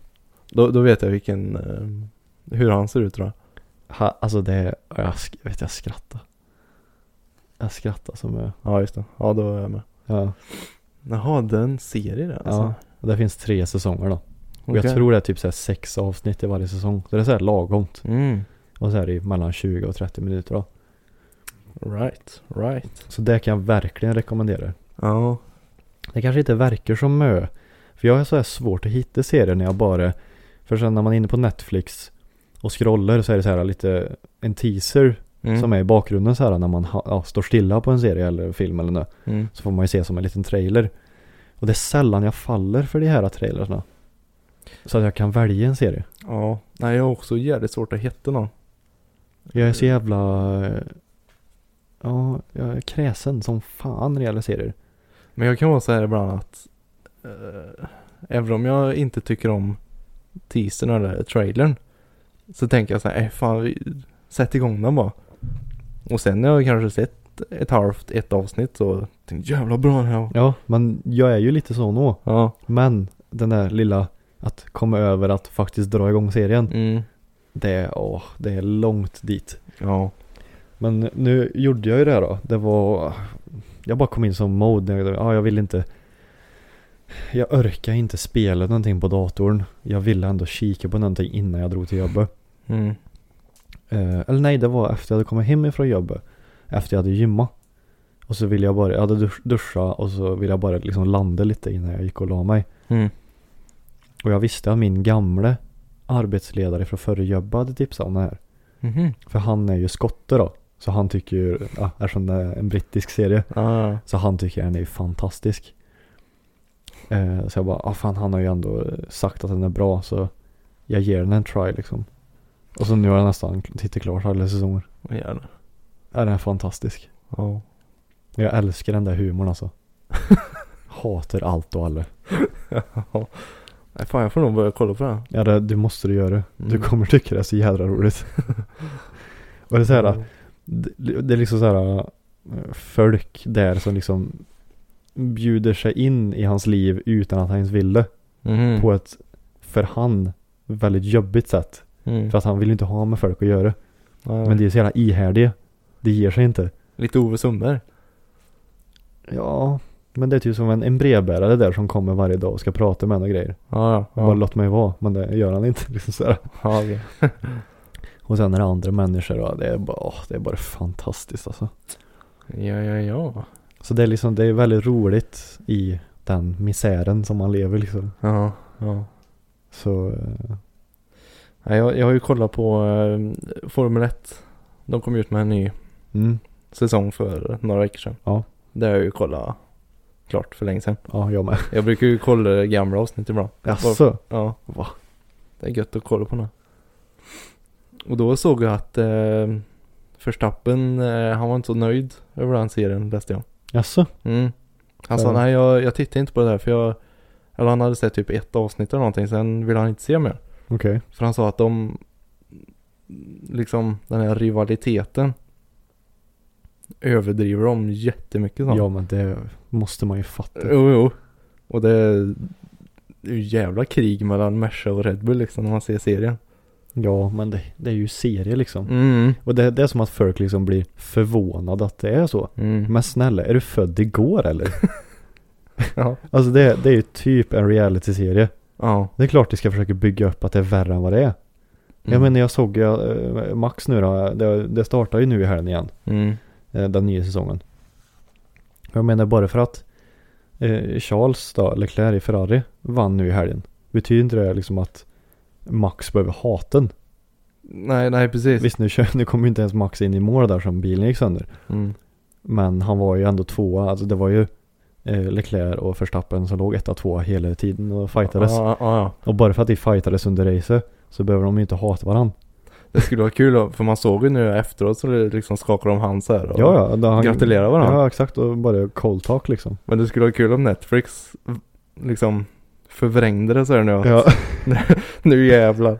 [SPEAKER 4] Då, då vet jag vilken, eh, hur han ser ut tror jag.
[SPEAKER 3] ha, Alltså det är, jag sk- vet jag skrattar Jag skrattar som jag
[SPEAKER 4] Ja, just det. Ja, då är jag med.
[SPEAKER 3] Ja,
[SPEAKER 4] Jaha, den serien alltså.
[SPEAKER 3] ja. Och det finns tre säsonger då
[SPEAKER 4] Ja,
[SPEAKER 3] Och jag tror det är typ så här sex avsnitt i varje säsong. Så det är så här lagomt.
[SPEAKER 4] Mm.
[SPEAKER 3] Och så är det ju mellan 20 och 30 minuter då.
[SPEAKER 4] Right, right.
[SPEAKER 3] Så det kan jag verkligen rekommendera.
[SPEAKER 4] Ja.
[SPEAKER 3] Det kanske inte verkar som mö. För jag är så här svårt att hitta serier när jag bara... För sen när man är inne på Netflix och scrollar så är det så här lite en teaser
[SPEAKER 4] Mm.
[SPEAKER 3] som är i bakgrunden så här när man ha, ja, står stilla på en serie eller film eller något.
[SPEAKER 4] Mm.
[SPEAKER 3] Så får man ju se som en liten trailer. Och det är sällan jag faller för de här trailerna. Så att jag kan välja en serie.
[SPEAKER 4] Ja. Nej, jag har också jävligt svårt att hitta någon.
[SPEAKER 3] Jag är så jävla... eh, Ja, jag är kräsen som fan när det gäller serier.
[SPEAKER 4] Men jag kan vara så här ibland att eh, Även om jag inte tycker om teasern eller trailern. Så tänker jag så här, eh, fan, vi, sätt igång den bara. Och sen när jag kanske sett ett halvt, ett avsnitt så tänkte jag jävla bra den här var."
[SPEAKER 3] Ja, men jag är ju lite så nå.
[SPEAKER 4] Ja.
[SPEAKER 3] Men den där lilla att komma över att faktiskt dra igång serien.
[SPEAKER 4] Mm.
[SPEAKER 3] Det är, åh, det är långt dit.
[SPEAKER 4] Ja.
[SPEAKER 3] Men nu gjorde jag ju det här då. Det var... Jag bara kom in som mode. när Jag, ja, jag vill inte... Jag orkar inte spela någonting på datorn. Jag ville ändå kika på någonting innan jag drog till jobbet.
[SPEAKER 4] Mm.
[SPEAKER 3] Eh, eller nej, det var efter jag hade kommit hem ifrån jobbet. Efter jag hade gymma. Och så ville jag bara, jag hade dusch, duscha och så ville jag bara liksom landa lite innan jag gick och la mig.
[SPEAKER 4] Mm.
[SPEAKER 3] Och jag visste att min gamle arbetsledare från förra jobbet hade tipsat om det här.
[SPEAKER 4] Mhm.
[SPEAKER 3] För han är ju skotte då. Så han tycker ju, ja, eftersom det är en brittisk serie.
[SPEAKER 4] Ja, ja.
[SPEAKER 3] Så han tycker den är fantastisk. Eh, så jag bara, ah, fan han har ju ändå sagt att den är bra så jag ger den en try liksom. Och så nu har jag nästan tittat klart alla säsonger.
[SPEAKER 4] Vad gör det?
[SPEAKER 3] Ja, den är fantastisk.
[SPEAKER 4] Ja.
[SPEAKER 3] Jag älskar den där humorn alltså. Hatar allt och alla.
[SPEAKER 4] Nej, Fan jag får nog börja kolla på den.
[SPEAKER 3] Ja, det, det måste du göra. Du
[SPEAKER 4] Mm.
[SPEAKER 3] kommer tycka det är så jädra roligt. och det är så
[SPEAKER 4] Mm.
[SPEAKER 3] här, det, det är liksom så här eh, folk där som liksom bjuder sig in i hans liv utan att han ens ville.
[SPEAKER 4] Mhm.
[SPEAKER 3] på ett för han väldigt jobbigt sätt.
[SPEAKER 4] Mm.
[SPEAKER 3] För att han vill inte ha med folk att göra.
[SPEAKER 4] Ja.
[SPEAKER 3] Men det är så jävla ihärdiga. Det ger sig inte.
[SPEAKER 4] Lite Ove Sundberg.
[SPEAKER 3] Ja, men det är typ som en, en brevbärare där som kommer varje dag och ska prata med en och grejer.
[SPEAKER 4] Ja, ja.
[SPEAKER 3] Bara
[SPEAKER 4] ja.
[SPEAKER 3] låt mig vara, men det gör han inte. Liksom så här.
[SPEAKER 4] ja okej.
[SPEAKER 3] Och sen är det andra människor och det är bara, åh, det är bara fantastiskt alltså.
[SPEAKER 4] Ja, ja, ja.
[SPEAKER 3] Så det är liksom, det är väldigt roligt i den misären som man lever liksom.
[SPEAKER 4] Ja, ja.
[SPEAKER 3] Så, eh,
[SPEAKER 4] Nej, jag, jag har ju kollat på eh, Formel 1. De kom ut med en ny
[SPEAKER 3] mm,
[SPEAKER 4] säsong för några veckor sedan.
[SPEAKER 3] Ja.
[SPEAKER 4] Det har jag ju kollat klart för länge sedan.
[SPEAKER 3] ja jag med.
[SPEAKER 4] Jag brukar ju kolla gamla avsnitt ibland.
[SPEAKER 3] Jaså?
[SPEAKER 4] Ja.
[SPEAKER 3] Va?
[SPEAKER 4] Det är gött att kolla på nu. Och då såg jag att eh, Förstappen, eh, han var inte så nöjd över den serien läste jag.
[SPEAKER 3] Jaså?
[SPEAKER 4] Mm. Han sa
[SPEAKER 3] Ja.
[SPEAKER 4] nej jag, jag tittar inte på det där för jag, eller han hade sett typ ett avsnitt eller någonting sen ville han inte se mer.
[SPEAKER 3] Okej.
[SPEAKER 4] För han sa att de, liksom den här rivaliteten överdriver dem jättemycket. sa
[SPEAKER 3] Ja
[SPEAKER 4] han.
[SPEAKER 3] men det måste man ju fatta.
[SPEAKER 4] Jo, jo. Och det är det är ju jävla krig mellan Merca och Red Bull liksom när man ser serien.
[SPEAKER 3] Ja, men det, det är ju serie liksom.
[SPEAKER 4] Mm.
[SPEAKER 3] Och det, det är som att folk liksom blir förvånade att det är så.
[SPEAKER 4] Mm.
[SPEAKER 3] Men snälla, är du född igår eller?
[SPEAKER 4] Ja.
[SPEAKER 3] Alltså det, det är ju typ en realityserie.
[SPEAKER 4] Ja.
[SPEAKER 3] Det är klart de ska försöka bygga upp att det är värre än vad det är. Jag menar jag såg ju, eh, Max nu då, det, det startar ju nu i helgen igen.
[SPEAKER 4] Mm.
[SPEAKER 3] eh, Den nya säsongen. Jag menar bara för att eh, Charles då, Leclerc i Ferrari, vann nu i helgen. Betyder inte det liksom att Max behöver haten?
[SPEAKER 4] Nej, nej precis.
[SPEAKER 3] Visst nu, kör, nu kom ju inte ens Max in i mål där som bilen gick sönder.
[SPEAKER 4] Mm.
[SPEAKER 3] Men han var ju ändå tvåa, alltså det var ju eh, Leclerc och Verstappen som låg etta tvåa hela tiden och fightades.
[SPEAKER 4] Ja, ja, ja.
[SPEAKER 3] Och bara för att de fightades under racet så behöver de ju inte hata varandra.
[SPEAKER 4] Det skulle vara kul då, för man såg ju nu efteråt så det liksom skakar om hand så här. och-
[SPEAKER 3] Ja, ja. då han-
[SPEAKER 4] Gratulerar varandra.
[SPEAKER 3] Ja, exakt. Och bara cold talk liksom.
[SPEAKER 4] Men det skulle vara kul om Netflix liksom förvrängde det så här nu.
[SPEAKER 3] Ja,
[SPEAKER 4] Nu jävlar.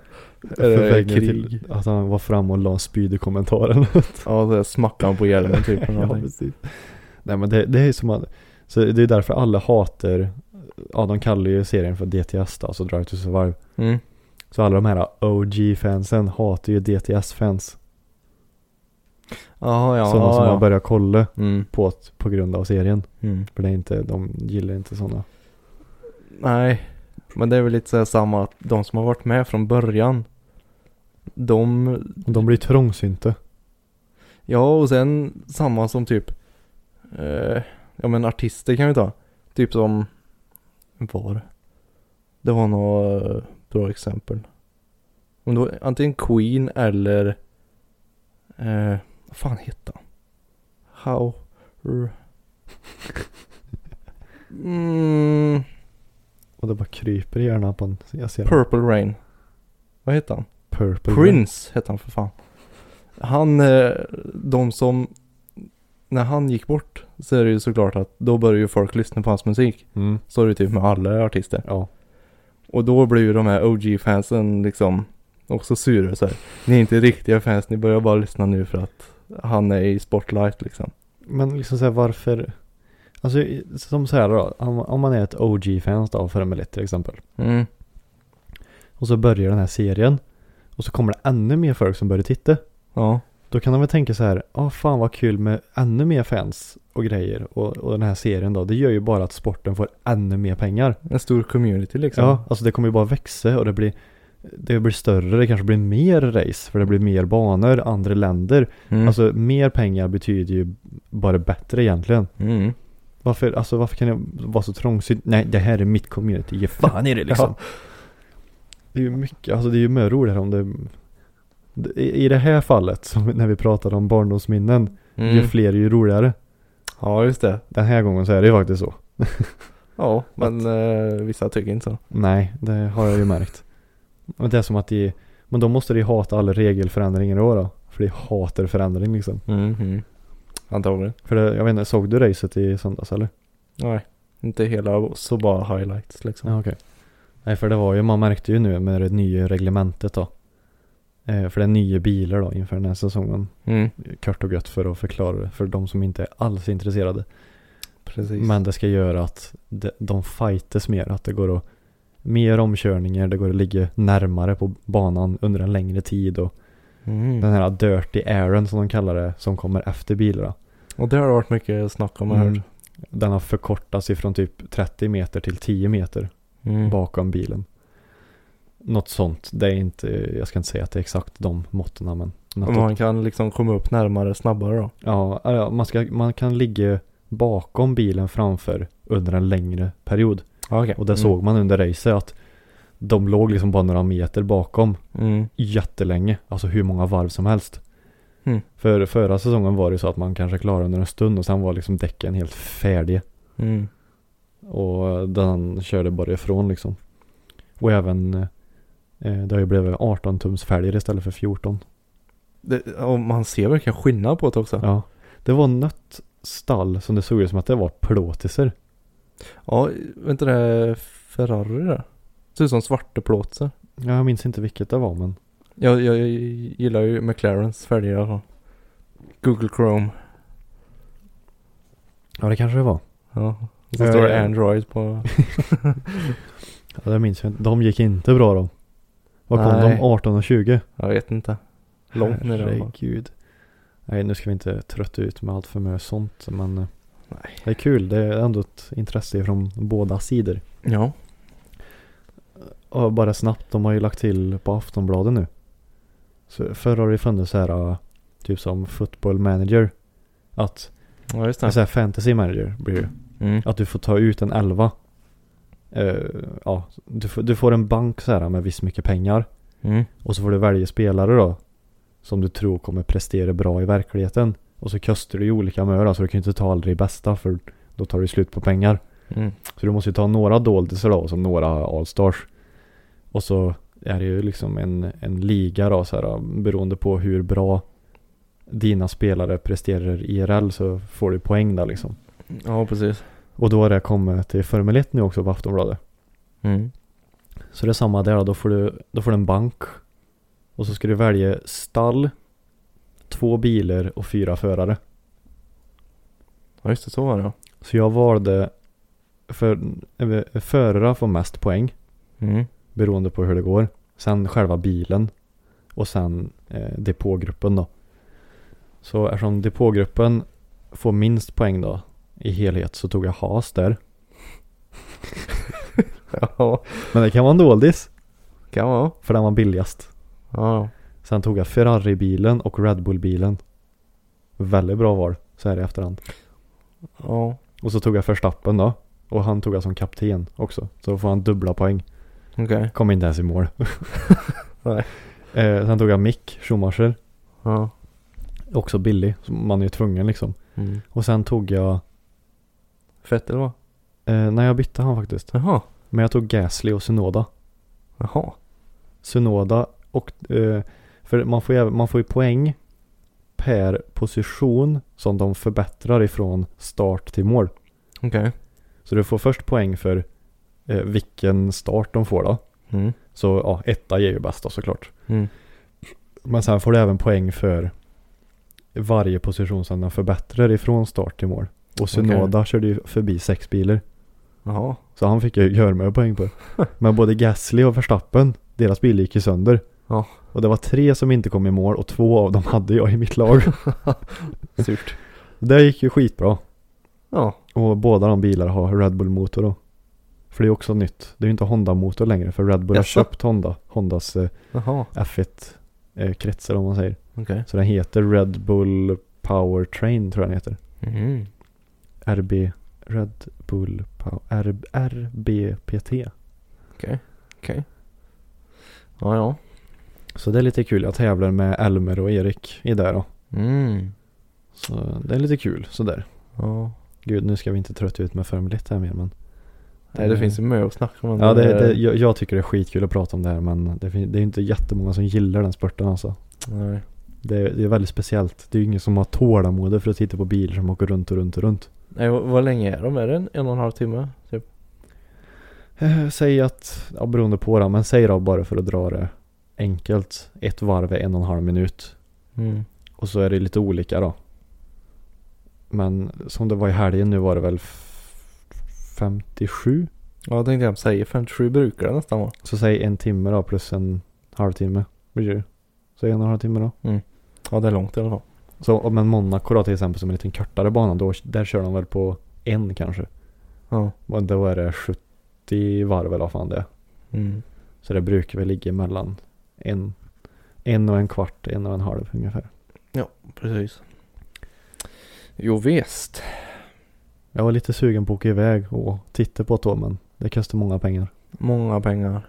[SPEAKER 4] Är det
[SPEAKER 3] förvägde
[SPEAKER 4] krig?
[SPEAKER 3] till att han var fram och la en spyd i kommentaren.
[SPEAKER 4] Ja, så här smackar han på hjälmen typ. eller
[SPEAKER 3] ja,
[SPEAKER 4] någonting.
[SPEAKER 3] precis. Nej men det, det är ju som att, så det är därför alla hatar, ja de kallar ju serien för DTS då, alltså Drive to Survive.
[SPEAKER 4] Mm.
[SPEAKER 3] Så alla de här OG-fansen hatar ju DTS-fans.
[SPEAKER 4] Ja, ja,
[SPEAKER 3] sådana
[SPEAKER 4] ja,
[SPEAKER 3] som
[SPEAKER 4] ja.
[SPEAKER 3] man börjar kolla
[SPEAKER 4] Mm.
[SPEAKER 3] på, att- på grund av serien.
[SPEAKER 4] Mm.
[SPEAKER 3] För det är inte, de gillar inte sådana.
[SPEAKER 4] Nej, men det är väl lite så här samma att de som har varit med från början. De
[SPEAKER 3] De blir trångsynta.
[SPEAKER 4] Ja, och sen samma som typ, eh, ja men artister kan vi ta. Typ som, var? Det var några eh, bra exempel. Om det var antingen Queen eller, eh, vad fan hette han? How? R- Mm,
[SPEAKER 3] Och det bara kryper i hjärnan på en, jag ser en
[SPEAKER 4] Purple Rain. Vad hette han?
[SPEAKER 3] purple.
[SPEAKER 4] Prince hette han för fan. Han, eh, de som, när han gick bort så är det ju såklart att då börjar ju folk lyssna på hans musik.
[SPEAKER 3] Mm.
[SPEAKER 4] Så är det typ med alla artister.
[SPEAKER 3] Ja.
[SPEAKER 4] Och då blir ju de här OG-fansen liksom också sura så här. Ni är inte riktiga fans, ni börjar bara lyssna nu för att han är i spotlight liksom.
[SPEAKER 3] Men liksom såhär varför? Alltså i- som så här då, om, om man är ett OG-fans då av Formel 1 till exempel.
[SPEAKER 4] Mm.
[SPEAKER 3] Och så börjar den här serien. Och så kommer det ännu mer folk som börjar titta.
[SPEAKER 4] Ja.
[SPEAKER 3] Då kan de väl tänka så här, ja fan vad kul med ännu mer fans och grejer. Och, och den här serien då, det gör ju bara att sporten får ännu mer pengar.
[SPEAKER 4] En stor community liksom.
[SPEAKER 3] Ja, alltså det kommer ju bara växa och det blir, det blir större, det kanske blir mer race, för det blir mer banor, andra länder.
[SPEAKER 4] Mm.
[SPEAKER 3] Alltså mer pengar betyder ju bara bättre egentligen.
[SPEAKER 4] Mm.
[SPEAKER 3] Varför, alltså, varför kan jag vara så trångsynt? Nej, det här är mitt community, ge fan i det liksom. Det är ju mycket, alltså det är ju mer roligare om det i i det här fallet, som när vi pratade om barndomsminnen, ju
[SPEAKER 4] Mm.
[SPEAKER 3] fler ju roligare.
[SPEAKER 4] Ja, just det.
[SPEAKER 3] Den här gången så är det ju faktiskt så.
[SPEAKER 4] Ja, men eh, vissa tycker inte så.
[SPEAKER 3] Nej, det har jag ju märkt. Men det är som att de, men då måste de hata alla regelförändringar då, då För de hatar förändring liksom.
[SPEAKER 4] Mm. Antagligen.
[SPEAKER 3] För det, jag vet inte, såg du racet i söndags eller?
[SPEAKER 4] Nej, inte hela, så bara highlights liksom.
[SPEAKER 3] Ja, okej. Nej, för det var ju, man märkte ju nu med det nya reglementet då. Eh, för det är nya bilar då inför den här säsongen.
[SPEAKER 4] Mm.
[SPEAKER 3] Kort och gött för att förklara det för de som inte är alls intresserade.
[SPEAKER 4] Precis.
[SPEAKER 3] Men det ska göra att de, de fightas mer, att det går att mer omkörningar, det går att ligga närmare på banan under en längre tid och
[SPEAKER 4] Mm.
[SPEAKER 3] den här dirty airen som de kallar det, som kommer efter bilarna.
[SPEAKER 4] Och det har det varit mycket snack om, har jag
[SPEAKER 3] Mm.
[SPEAKER 4] hört.
[SPEAKER 3] Den har förkortats ifrån typ 30 meter till 10 meter
[SPEAKER 4] Mm.
[SPEAKER 3] bakom bilen. Något sånt. Det är inte, jag ska inte säga att det är exakt de måtten men. Något
[SPEAKER 4] Om man kan liksom komma upp närmare snabbare då.
[SPEAKER 3] Ja, ja, man, ska, man kan ligga bakom bilen framför under en längre period.
[SPEAKER 4] Okay.
[SPEAKER 3] Och det såg man under racet att de låg liksom bara några meter bakom
[SPEAKER 4] Mm.
[SPEAKER 3] jättelänge. Alltså hur många varv som helst.
[SPEAKER 4] Mm.
[SPEAKER 3] För förra säsongen var det så att man kanske klarade under en stund och sen var liksom däcken helt färdiga.
[SPEAKER 4] Mm.
[SPEAKER 3] Och den körde bara ifrån liksom. Och även eh, det har ju blivit 18 tums fälgar istället för 14.
[SPEAKER 4] Det, och man ser verkligen skillnad på det också. Ja.
[SPEAKER 3] Ja. Det var något stall som det såg ut som att det var plåtisar.
[SPEAKER 4] ja, vänta det är Ferrari där. Det ser ut som svarta plåtar.
[SPEAKER 3] Ja, jag minns inte vilket det var men.
[SPEAKER 4] Jag, jag, jag gillar ju McLarens färger i alla fall. Google Chrome.
[SPEAKER 3] Ja det kanske det var.
[SPEAKER 4] Ja. Och Så står
[SPEAKER 3] Ja, ja,
[SPEAKER 4] det
[SPEAKER 3] ja.
[SPEAKER 4] Android på.
[SPEAKER 3] Ja, det minns jag inte. De gick inte bra de. Vad kom
[SPEAKER 4] Nej.
[SPEAKER 3] de? 18 och 20?
[SPEAKER 4] Jag vet inte. Långt ner i alla fall.
[SPEAKER 3] Herregud. Nej nu ska vi inte trötta ut med allt för mycket sånt men eh,
[SPEAKER 4] Nej.
[SPEAKER 3] det är kul. Det är ändå ett intresse från båda sidor.
[SPEAKER 4] Ja.
[SPEAKER 3] Och bara snabbt, de har ju lagt till på Aftonbladet nu. Så förr har det funnits så här, äh, typ som football manager. Att,
[SPEAKER 4] Ja, just
[SPEAKER 3] så
[SPEAKER 4] det.
[SPEAKER 3] här fantasy manager blir det.
[SPEAKER 4] Mm.
[SPEAKER 3] Att du får ta ut en elva. Eh, ja, du, får- du får en bank så här med visst mycket pengar.
[SPEAKER 4] Mm.
[SPEAKER 3] Och så får du välja spelare då. Som du tror kommer prestera bra i verkligheten. Och så kostar du ju olika med då, så du kan ju inte ta aldrig det bästa för då tar du slut på pengar.
[SPEAKER 4] Mm.
[SPEAKER 3] Så du måste ju ta några doldisar då, som några allstars. Och så är det ju liksom en, en liga då, så här, beroende på hur bra dina spelare presterar i IRL så får du poäng där liksom.
[SPEAKER 4] Ja, precis.
[SPEAKER 3] Och då har det kommit till Formel 1 nu också på Aftonbladet.
[SPEAKER 4] Mm.
[SPEAKER 3] Så det är samma där, då får du, då får du en bank. Och så ska du välja stall, två bilar och fyra förare.
[SPEAKER 4] Ja, just det. Så var det. ja.
[SPEAKER 3] Så jag valde för, eh, förare får mest poäng.
[SPEAKER 4] Mm.
[SPEAKER 3] beroende på hur det går. Sen själva bilen och sen eh, depågruppen då. Så eftersom depågruppen får minst poäng då i helhet så tog jag Haas där.
[SPEAKER 4] Ja,
[SPEAKER 3] Men det kan vara en doldis
[SPEAKER 4] kan vara.
[SPEAKER 3] för den var billigast.
[SPEAKER 4] Ja,
[SPEAKER 3] Sen tog jag Ferrari-bilen och Red Bull-bilen. Väldigt bra val så här i efterhand.
[SPEAKER 4] ja.
[SPEAKER 3] Och så tog jag Verstappen då. Och han tog jag som kapten också. Så får han dubbla poäng.
[SPEAKER 4] Okej.
[SPEAKER 3] Kom inte ens i mål.
[SPEAKER 4] Nej.
[SPEAKER 3] Eh, sen tog jag Mick Schumacher.
[SPEAKER 4] Ja.
[SPEAKER 3] Också billig. Så man är ju tvungen liksom.
[SPEAKER 4] Mm.
[SPEAKER 3] Och sen tog jag,
[SPEAKER 4] Fett eller vad?
[SPEAKER 3] eh, när jag bytte han faktiskt.
[SPEAKER 4] Jaha.
[SPEAKER 3] Men jag tog Gasly och Sunoda.
[SPEAKER 4] Jaha.
[SPEAKER 3] Sunoda och, eh, för man får, ju, man får ju poäng per position som de förbättrar ifrån start till mål.
[SPEAKER 4] Okej.
[SPEAKER 3] Så du får först poäng för eh, vilken start de får då.
[SPEAKER 4] Mm.
[SPEAKER 3] Så ja, etta ger ju bäst då såklart.
[SPEAKER 4] Mm.
[SPEAKER 3] Men sen får du även poäng för varje position som den förbättrar ifrån start till mål. Och Sunoda körde ju förbi sex bilar.
[SPEAKER 4] Jaha.
[SPEAKER 3] Så han fick ju Görmö poäng på. Men både Gasly och Verstappen, deras bil gick ju sönder.
[SPEAKER 4] Ja.
[SPEAKER 3] Och det var tre som inte kom i mål och två av dem hade jag i mitt lag.
[SPEAKER 4] Surt.
[SPEAKER 3] det gick ju skitbra.
[SPEAKER 4] Ja.
[SPEAKER 3] Och båda de bilarna har Red Bull motor då. För det är också nytt. Det är ju inte Honda motor längre för Red Bull har
[SPEAKER 4] Jaså?
[SPEAKER 3] köpt Honda. Hondas eh,
[SPEAKER 4] Jaha.
[SPEAKER 3] F1 eh, kretsar om man säger.
[SPEAKER 4] Okej.
[SPEAKER 3] Så den heter Red Bull Powertrain tror jag den heter.
[SPEAKER 4] Mm.
[SPEAKER 3] RB Red Bull Power R, RBPT.
[SPEAKER 4] Ja, ja.
[SPEAKER 3] Så det är lite kul. Jag tävlar med Elmer och Erik i där då.
[SPEAKER 4] Mm.
[SPEAKER 3] Så det är lite kul sådär.
[SPEAKER 4] Ja.
[SPEAKER 3] Gud nu ska vi inte trötta ut med Formel 1 här mer men.
[SPEAKER 4] Nej, det finns ju mer att snacka om. än
[SPEAKER 3] Ja det, det, jag, jag tycker det är skitkul att prata om det här men det, fin- det är inte jättemånga som gillar den sporten alltså.
[SPEAKER 4] Nej.
[SPEAKER 3] Det, det är väldigt speciellt. Det är ju ingen som har tålamod för att titta på bilar som åker runt och runt och runt.
[SPEAKER 4] Nej, vad, vad länge är de? Är det en, en och en halv timme? Typ?
[SPEAKER 3] Eh, Säg att, ja, beroende på det, men säg då bara för att dra det enkelt. Ett varv är en och en halv minut.
[SPEAKER 4] Mm.
[SPEAKER 3] Och så är det lite olika då. Men som det var i helgen nu var det väl f- 57?
[SPEAKER 4] Ja, jag tänkte jag säga 57 brukar det nästan vara.
[SPEAKER 3] Så säg en timme då plus en halvtimme. Blir det ju. Säg en och en halv timme då.
[SPEAKER 4] Ja, det är långt i alla fall.
[SPEAKER 3] Så om en Monaco då till exempel som är en liten kortare bana då, där kör de väl på en kanske.
[SPEAKER 4] Ja.
[SPEAKER 3] Och då är det 70 varv eller vad fan det är.
[SPEAKER 4] Mm.
[SPEAKER 3] Så det brukar väl ligga mellan en, en och en kvart, en och en halv ungefär.
[SPEAKER 4] Precis. Jo visst.
[SPEAKER 3] Jag var lite sugen på att åka iväg och titta på det då, men det kostar många pengar.
[SPEAKER 4] Många pengar.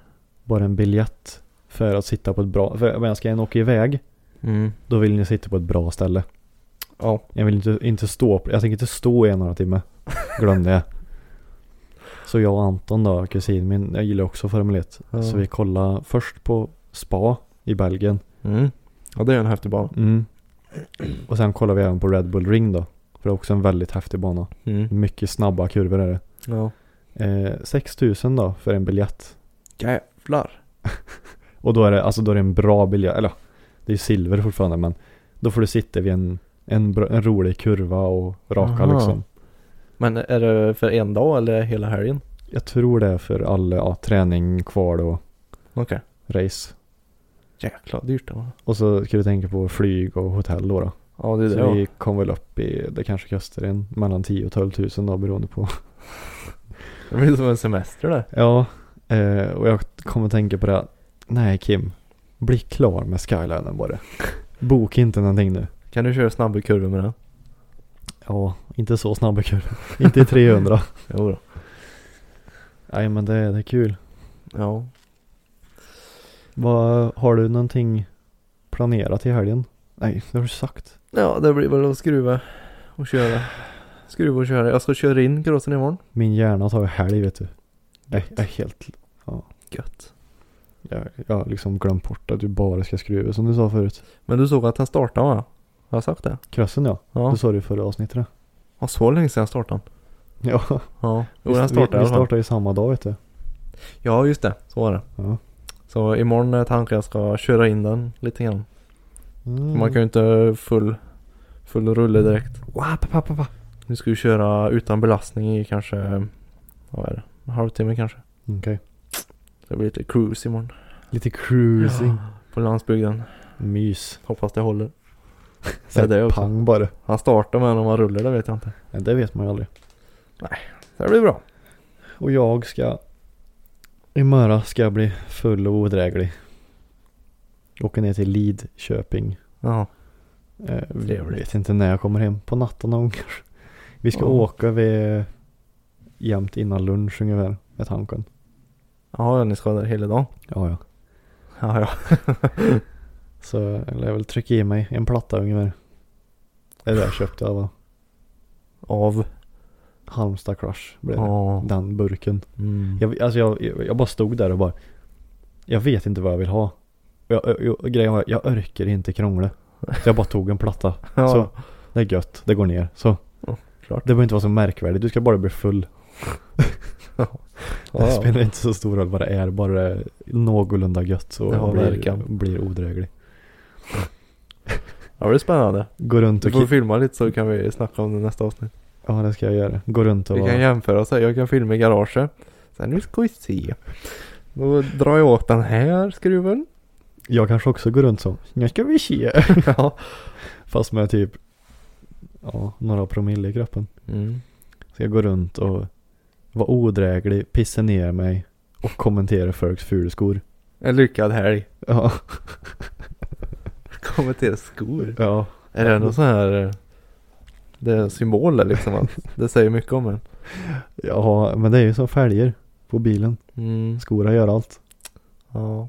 [SPEAKER 3] Bara en biljett för att sitta på ett bra, för men ska en åka iväg
[SPEAKER 4] Mm.
[SPEAKER 3] då vill ni sitta på ett bra ställe.
[SPEAKER 4] Ja.
[SPEAKER 3] Jag vill inte, inte stå, jag tänker inte stå i en och en halv timme. Glöm det. Så jag och Anton då, kusin min, jag gillar också Formel 1.
[SPEAKER 4] Ja.
[SPEAKER 3] Så vi kollade först på Spa i Belgien.
[SPEAKER 4] Mm. Ja, det är en häftig bana.
[SPEAKER 3] Mm. Och sen kollade vi även på Red Bull Ring då. För det är också en väldigt häftig bana.
[SPEAKER 4] Mm.
[SPEAKER 3] Mycket snabba kurvor är det.
[SPEAKER 4] Ja.
[SPEAKER 3] Eh, 6000 då för en biljett.
[SPEAKER 4] Jävlar.
[SPEAKER 3] Och då är det, alltså då är det en bra biljett, eller ja, det är silver fortfarande men då får du sitta vid en, en, bra- en rolig kurva och raka
[SPEAKER 4] Aha.
[SPEAKER 3] liksom.
[SPEAKER 4] Men är det för en dag eller hela helgen?
[SPEAKER 3] Jag tror det är för all ja, träning, kval och
[SPEAKER 4] Okej.
[SPEAKER 3] race.
[SPEAKER 4] Jäklar dyrt det var.
[SPEAKER 3] Och så ska du tänka på flyg och hotell då. då.
[SPEAKER 4] Ja, det är det.
[SPEAKER 3] Så
[SPEAKER 4] ja.
[SPEAKER 3] vi kom väl upp i, det kanske kostar en mellan 10 och 12 tusen då beroende på.
[SPEAKER 4] Det blir som en semester där.
[SPEAKER 3] Ja, eh, och jag kommer tänka på det. här. Nej Kim, bli klar med skylinen bara. Boka inte någonting nu.
[SPEAKER 4] Kan du köra snabba kurvor med den?
[SPEAKER 3] Ja, inte så snabba kurvor. inte i 300.
[SPEAKER 4] Jo då.
[SPEAKER 3] Nej men det, det är kul.
[SPEAKER 4] Ja.
[SPEAKER 3] Vad, har du någonting planerat i helgen? Nej, det har du sagt.
[SPEAKER 4] Ja, det blir väl att skruva och köra. Skruva och köra. Jag ska köra in crossen imorgon.
[SPEAKER 3] Min hjärna tar ju helg vet du. Jag, jag är helt,
[SPEAKER 4] Gött.
[SPEAKER 3] jag, jag har liksom glömt bort att du bara ska skruva som du sa förut.
[SPEAKER 4] Men du såg att han startade va? Har jag sagt det?
[SPEAKER 3] Krössen ja,
[SPEAKER 4] Ja.
[SPEAKER 3] det sa du i förra avsnittet.
[SPEAKER 4] Ja, så länge sedan jag startade han.
[SPEAKER 3] Ja,
[SPEAKER 4] Ja. Jo,
[SPEAKER 3] vi,
[SPEAKER 4] han
[SPEAKER 3] vi,
[SPEAKER 4] startade i
[SPEAKER 3] vi
[SPEAKER 4] alla fall.
[SPEAKER 3] startar ju samma dag vet du.
[SPEAKER 4] Ja, just det. Så var det.
[SPEAKER 3] Ja.
[SPEAKER 4] Så imorgon är tanken att jag ska köra in den lite grann.
[SPEAKER 3] Mm.
[SPEAKER 4] För Man kan ju inte full, full rulle direkt.
[SPEAKER 3] Wa, pa, pa, pa, pa.
[SPEAKER 4] Nu ska vi köra utan belastning i kanske, vad är det, en halvtimme kanske.
[SPEAKER 3] Okej.
[SPEAKER 4] Så Det blir lite cruise imorgon.
[SPEAKER 3] Lite cruising.
[SPEAKER 4] På landsbygden.
[SPEAKER 3] Mys.
[SPEAKER 4] Hoppas det håller.
[SPEAKER 3] Så
[SPEAKER 4] det också.
[SPEAKER 3] pang bara.
[SPEAKER 4] Han startar med den om han rullar, det vet jag inte.
[SPEAKER 3] Nej, det vet man ju aldrig.
[SPEAKER 4] Så det blir bra.
[SPEAKER 3] Och jag ska... Imorgon ska jag bli full och odräglig. Åka ner till Lidköping.
[SPEAKER 4] Ja.
[SPEAKER 3] Eh, vi
[SPEAKER 4] Trevligt.
[SPEAKER 3] vet inte när jag kommer hem. På natten någon gång kanske. Vi ska
[SPEAKER 4] Ja.
[SPEAKER 3] åka vid... Jämt innan lunch ungefär. Är tanken.
[SPEAKER 4] Ja, ni ska där hela dagen.
[SPEAKER 3] Ja, ja.
[SPEAKER 4] Ja, ja.
[SPEAKER 3] Så jag lär väl trycka i mig en platta ungefär. Det där köpte jag va?
[SPEAKER 4] Av.
[SPEAKER 3] Halmstad Crush blev det.
[SPEAKER 4] Ja.
[SPEAKER 3] Den burken.
[SPEAKER 4] Mm.
[SPEAKER 3] Jag, alltså jag, jag jag bara stod där och bara Jag vet inte vad jag vill ha. Och Jag, jag, jag, grejen var, jag orkar inte krångla. Så jag bara tog en platta.
[SPEAKER 4] Ja.
[SPEAKER 3] Så, det är gött, det går ner. Så.
[SPEAKER 4] Ja, klart.
[SPEAKER 3] Det behöver inte vara så märkvärdigt, du ska bara bli full. Det spelar inte så stor roll vad det är, bara det är någorlunda gött så
[SPEAKER 4] Ja,
[SPEAKER 3] blir,
[SPEAKER 4] verkligen.
[SPEAKER 3] blir odräglig.
[SPEAKER 4] Ja, det är spännande.
[SPEAKER 3] Gå runt
[SPEAKER 4] Du
[SPEAKER 3] och...
[SPEAKER 4] får
[SPEAKER 3] ki-
[SPEAKER 4] filma lite så kan vi snacka om det i nästa avsnitt.
[SPEAKER 3] Ja, det ska jag göra. Gå runt och...
[SPEAKER 4] Vi kan
[SPEAKER 3] vara-
[SPEAKER 4] jämföra så här. Jag kan filma i garaget. Sen nu ska vi se. Då drar jag åt den här skruven.
[SPEAKER 3] Jag kanske också går runt som, nu ska vi se.
[SPEAKER 4] ja.
[SPEAKER 3] Fast med typ, ja, några promille i kroppen.
[SPEAKER 4] Mm.
[SPEAKER 3] Så jag går runt och vara odräglig, pissa ner mig och kommentera folks fulskor.
[SPEAKER 4] En lyckad helg.
[SPEAKER 3] Ja,
[SPEAKER 4] Kommer till skor.
[SPEAKER 3] ja.
[SPEAKER 4] Är det någon sån här... eh, Det är symboler liksom. Att det säger mycket om en.
[SPEAKER 3] Ja, men det är ju som fälgar på bilen.
[SPEAKER 4] Mm.
[SPEAKER 3] Skorna gör allt.
[SPEAKER 4] Ja.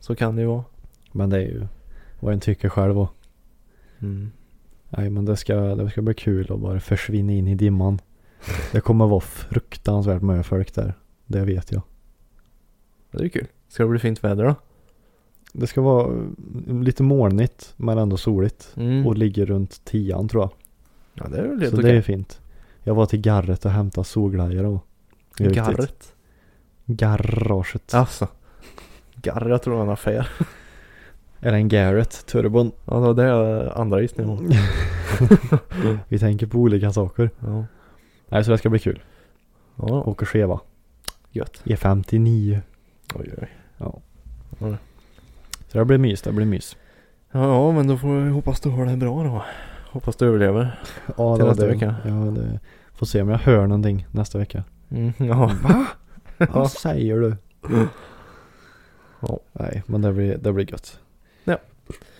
[SPEAKER 4] Så kan det ju vara.
[SPEAKER 3] Men det är ju vad en tycker själv och.
[SPEAKER 4] Mm.
[SPEAKER 3] Nej, men det ska, det ska bli kul att bara försvinna in i dimman. Det kommer vara fruktansvärt mycket folk där. Det vet jag.
[SPEAKER 4] Det är kul. Ska det bli fint väder då?
[SPEAKER 3] Det ska vara eh, lite molnigt men ändå soligt.
[SPEAKER 4] Mm.
[SPEAKER 3] Och ligger runt tian tror jag.
[SPEAKER 4] Ja, det är väl helt
[SPEAKER 3] så det är
[SPEAKER 4] okej.
[SPEAKER 3] fint. Jag var till garret och hämtade solglajjor och det är viktigt.
[SPEAKER 4] Garret.
[SPEAKER 3] Garaget.
[SPEAKER 4] Alltså. Garret jag tror jag är en affär.
[SPEAKER 3] Är det en Garrett, turbon?
[SPEAKER 4] Ja, det var det jag- andra gissningen var.
[SPEAKER 3] Vi tänker på olika saker.
[SPEAKER 4] Ja.
[SPEAKER 3] Nej, så det ska bli kul.
[SPEAKER 4] Ja,
[SPEAKER 3] Åker E Cheva.
[SPEAKER 4] gött.
[SPEAKER 3] E59.
[SPEAKER 4] Oj, oj.
[SPEAKER 3] Ja.
[SPEAKER 4] Ja.
[SPEAKER 3] Så det blir mys, det blir mys.
[SPEAKER 4] Ja, ja, men då får vi hoppas du har det bra då. Hoppas du överlever.
[SPEAKER 3] Ja,
[SPEAKER 4] Till
[SPEAKER 3] var
[SPEAKER 4] nästa
[SPEAKER 3] det.
[SPEAKER 4] vecka.
[SPEAKER 3] Ja, det. Får se om jag hör någonting nästa vecka.
[SPEAKER 4] Mm, ja.
[SPEAKER 3] Vad säger du?
[SPEAKER 4] Ja.
[SPEAKER 3] Nej, men det blir, det blir gött.
[SPEAKER 4] Ja.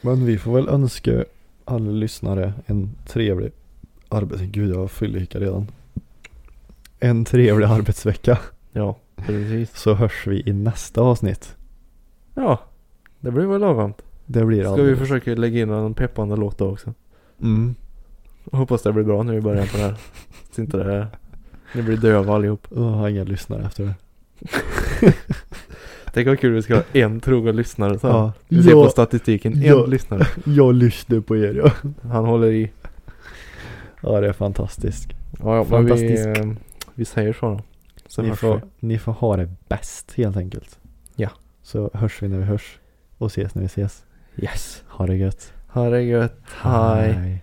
[SPEAKER 3] Men vi får väl önska alla lyssnare en trevlig arbets... Gud, jag fyllhicka redan. En trevlig arbetsvecka.
[SPEAKER 4] ja, precis.
[SPEAKER 3] Så hörs vi i nästa avsnitt.
[SPEAKER 4] Ja, det blir väl lagom.
[SPEAKER 3] Det blir
[SPEAKER 4] Ska vi
[SPEAKER 3] alldeles-
[SPEAKER 4] försöka lägga in en peppande låt då också.
[SPEAKER 3] Mm.
[SPEAKER 4] Hoppas det blir bra nu i början på det här. Så inte det Ni blir döva allihop.
[SPEAKER 3] Jag har inga lyssnare efter det.
[SPEAKER 4] Tänk vad kul vi ska ha en trogen lyssnare så. här.
[SPEAKER 3] Ja.
[SPEAKER 4] Vi ser på
[SPEAKER 3] Ja.
[SPEAKER 4] statistiken, en
[SPEAKER 3] Ja.
[SPEAKER 4] lyssnare.
[SPEAKER 3] Jag lyssnar på er ja.
[SPEAKER 4] Han håller i.
[SPEAKER 3] Ja, det är fantastiskt.
[SPEAKER 4] Ja, ja men vi,
[SPEAKER 3] Fantastisk.
[SPEAKER 4] eh, vi säger så då. Så
[SPEAKER 3] Ni
[SPEAKER 4] hörs
[SPEAKER 3] får,
[SPEAKER 4] vi.
[SPEAKER 3] ni får ha det bäst helt enkelt.
[SPEAKER 4] Ja.
[SPEAKER 3] Så hörs vi när vi hörs. Och ses när vi ses.
[SPEAKER 4] Yes.
[SPEAKER 3] Ha det gött.
[SPEAKER 4] Ha det gött. Hej.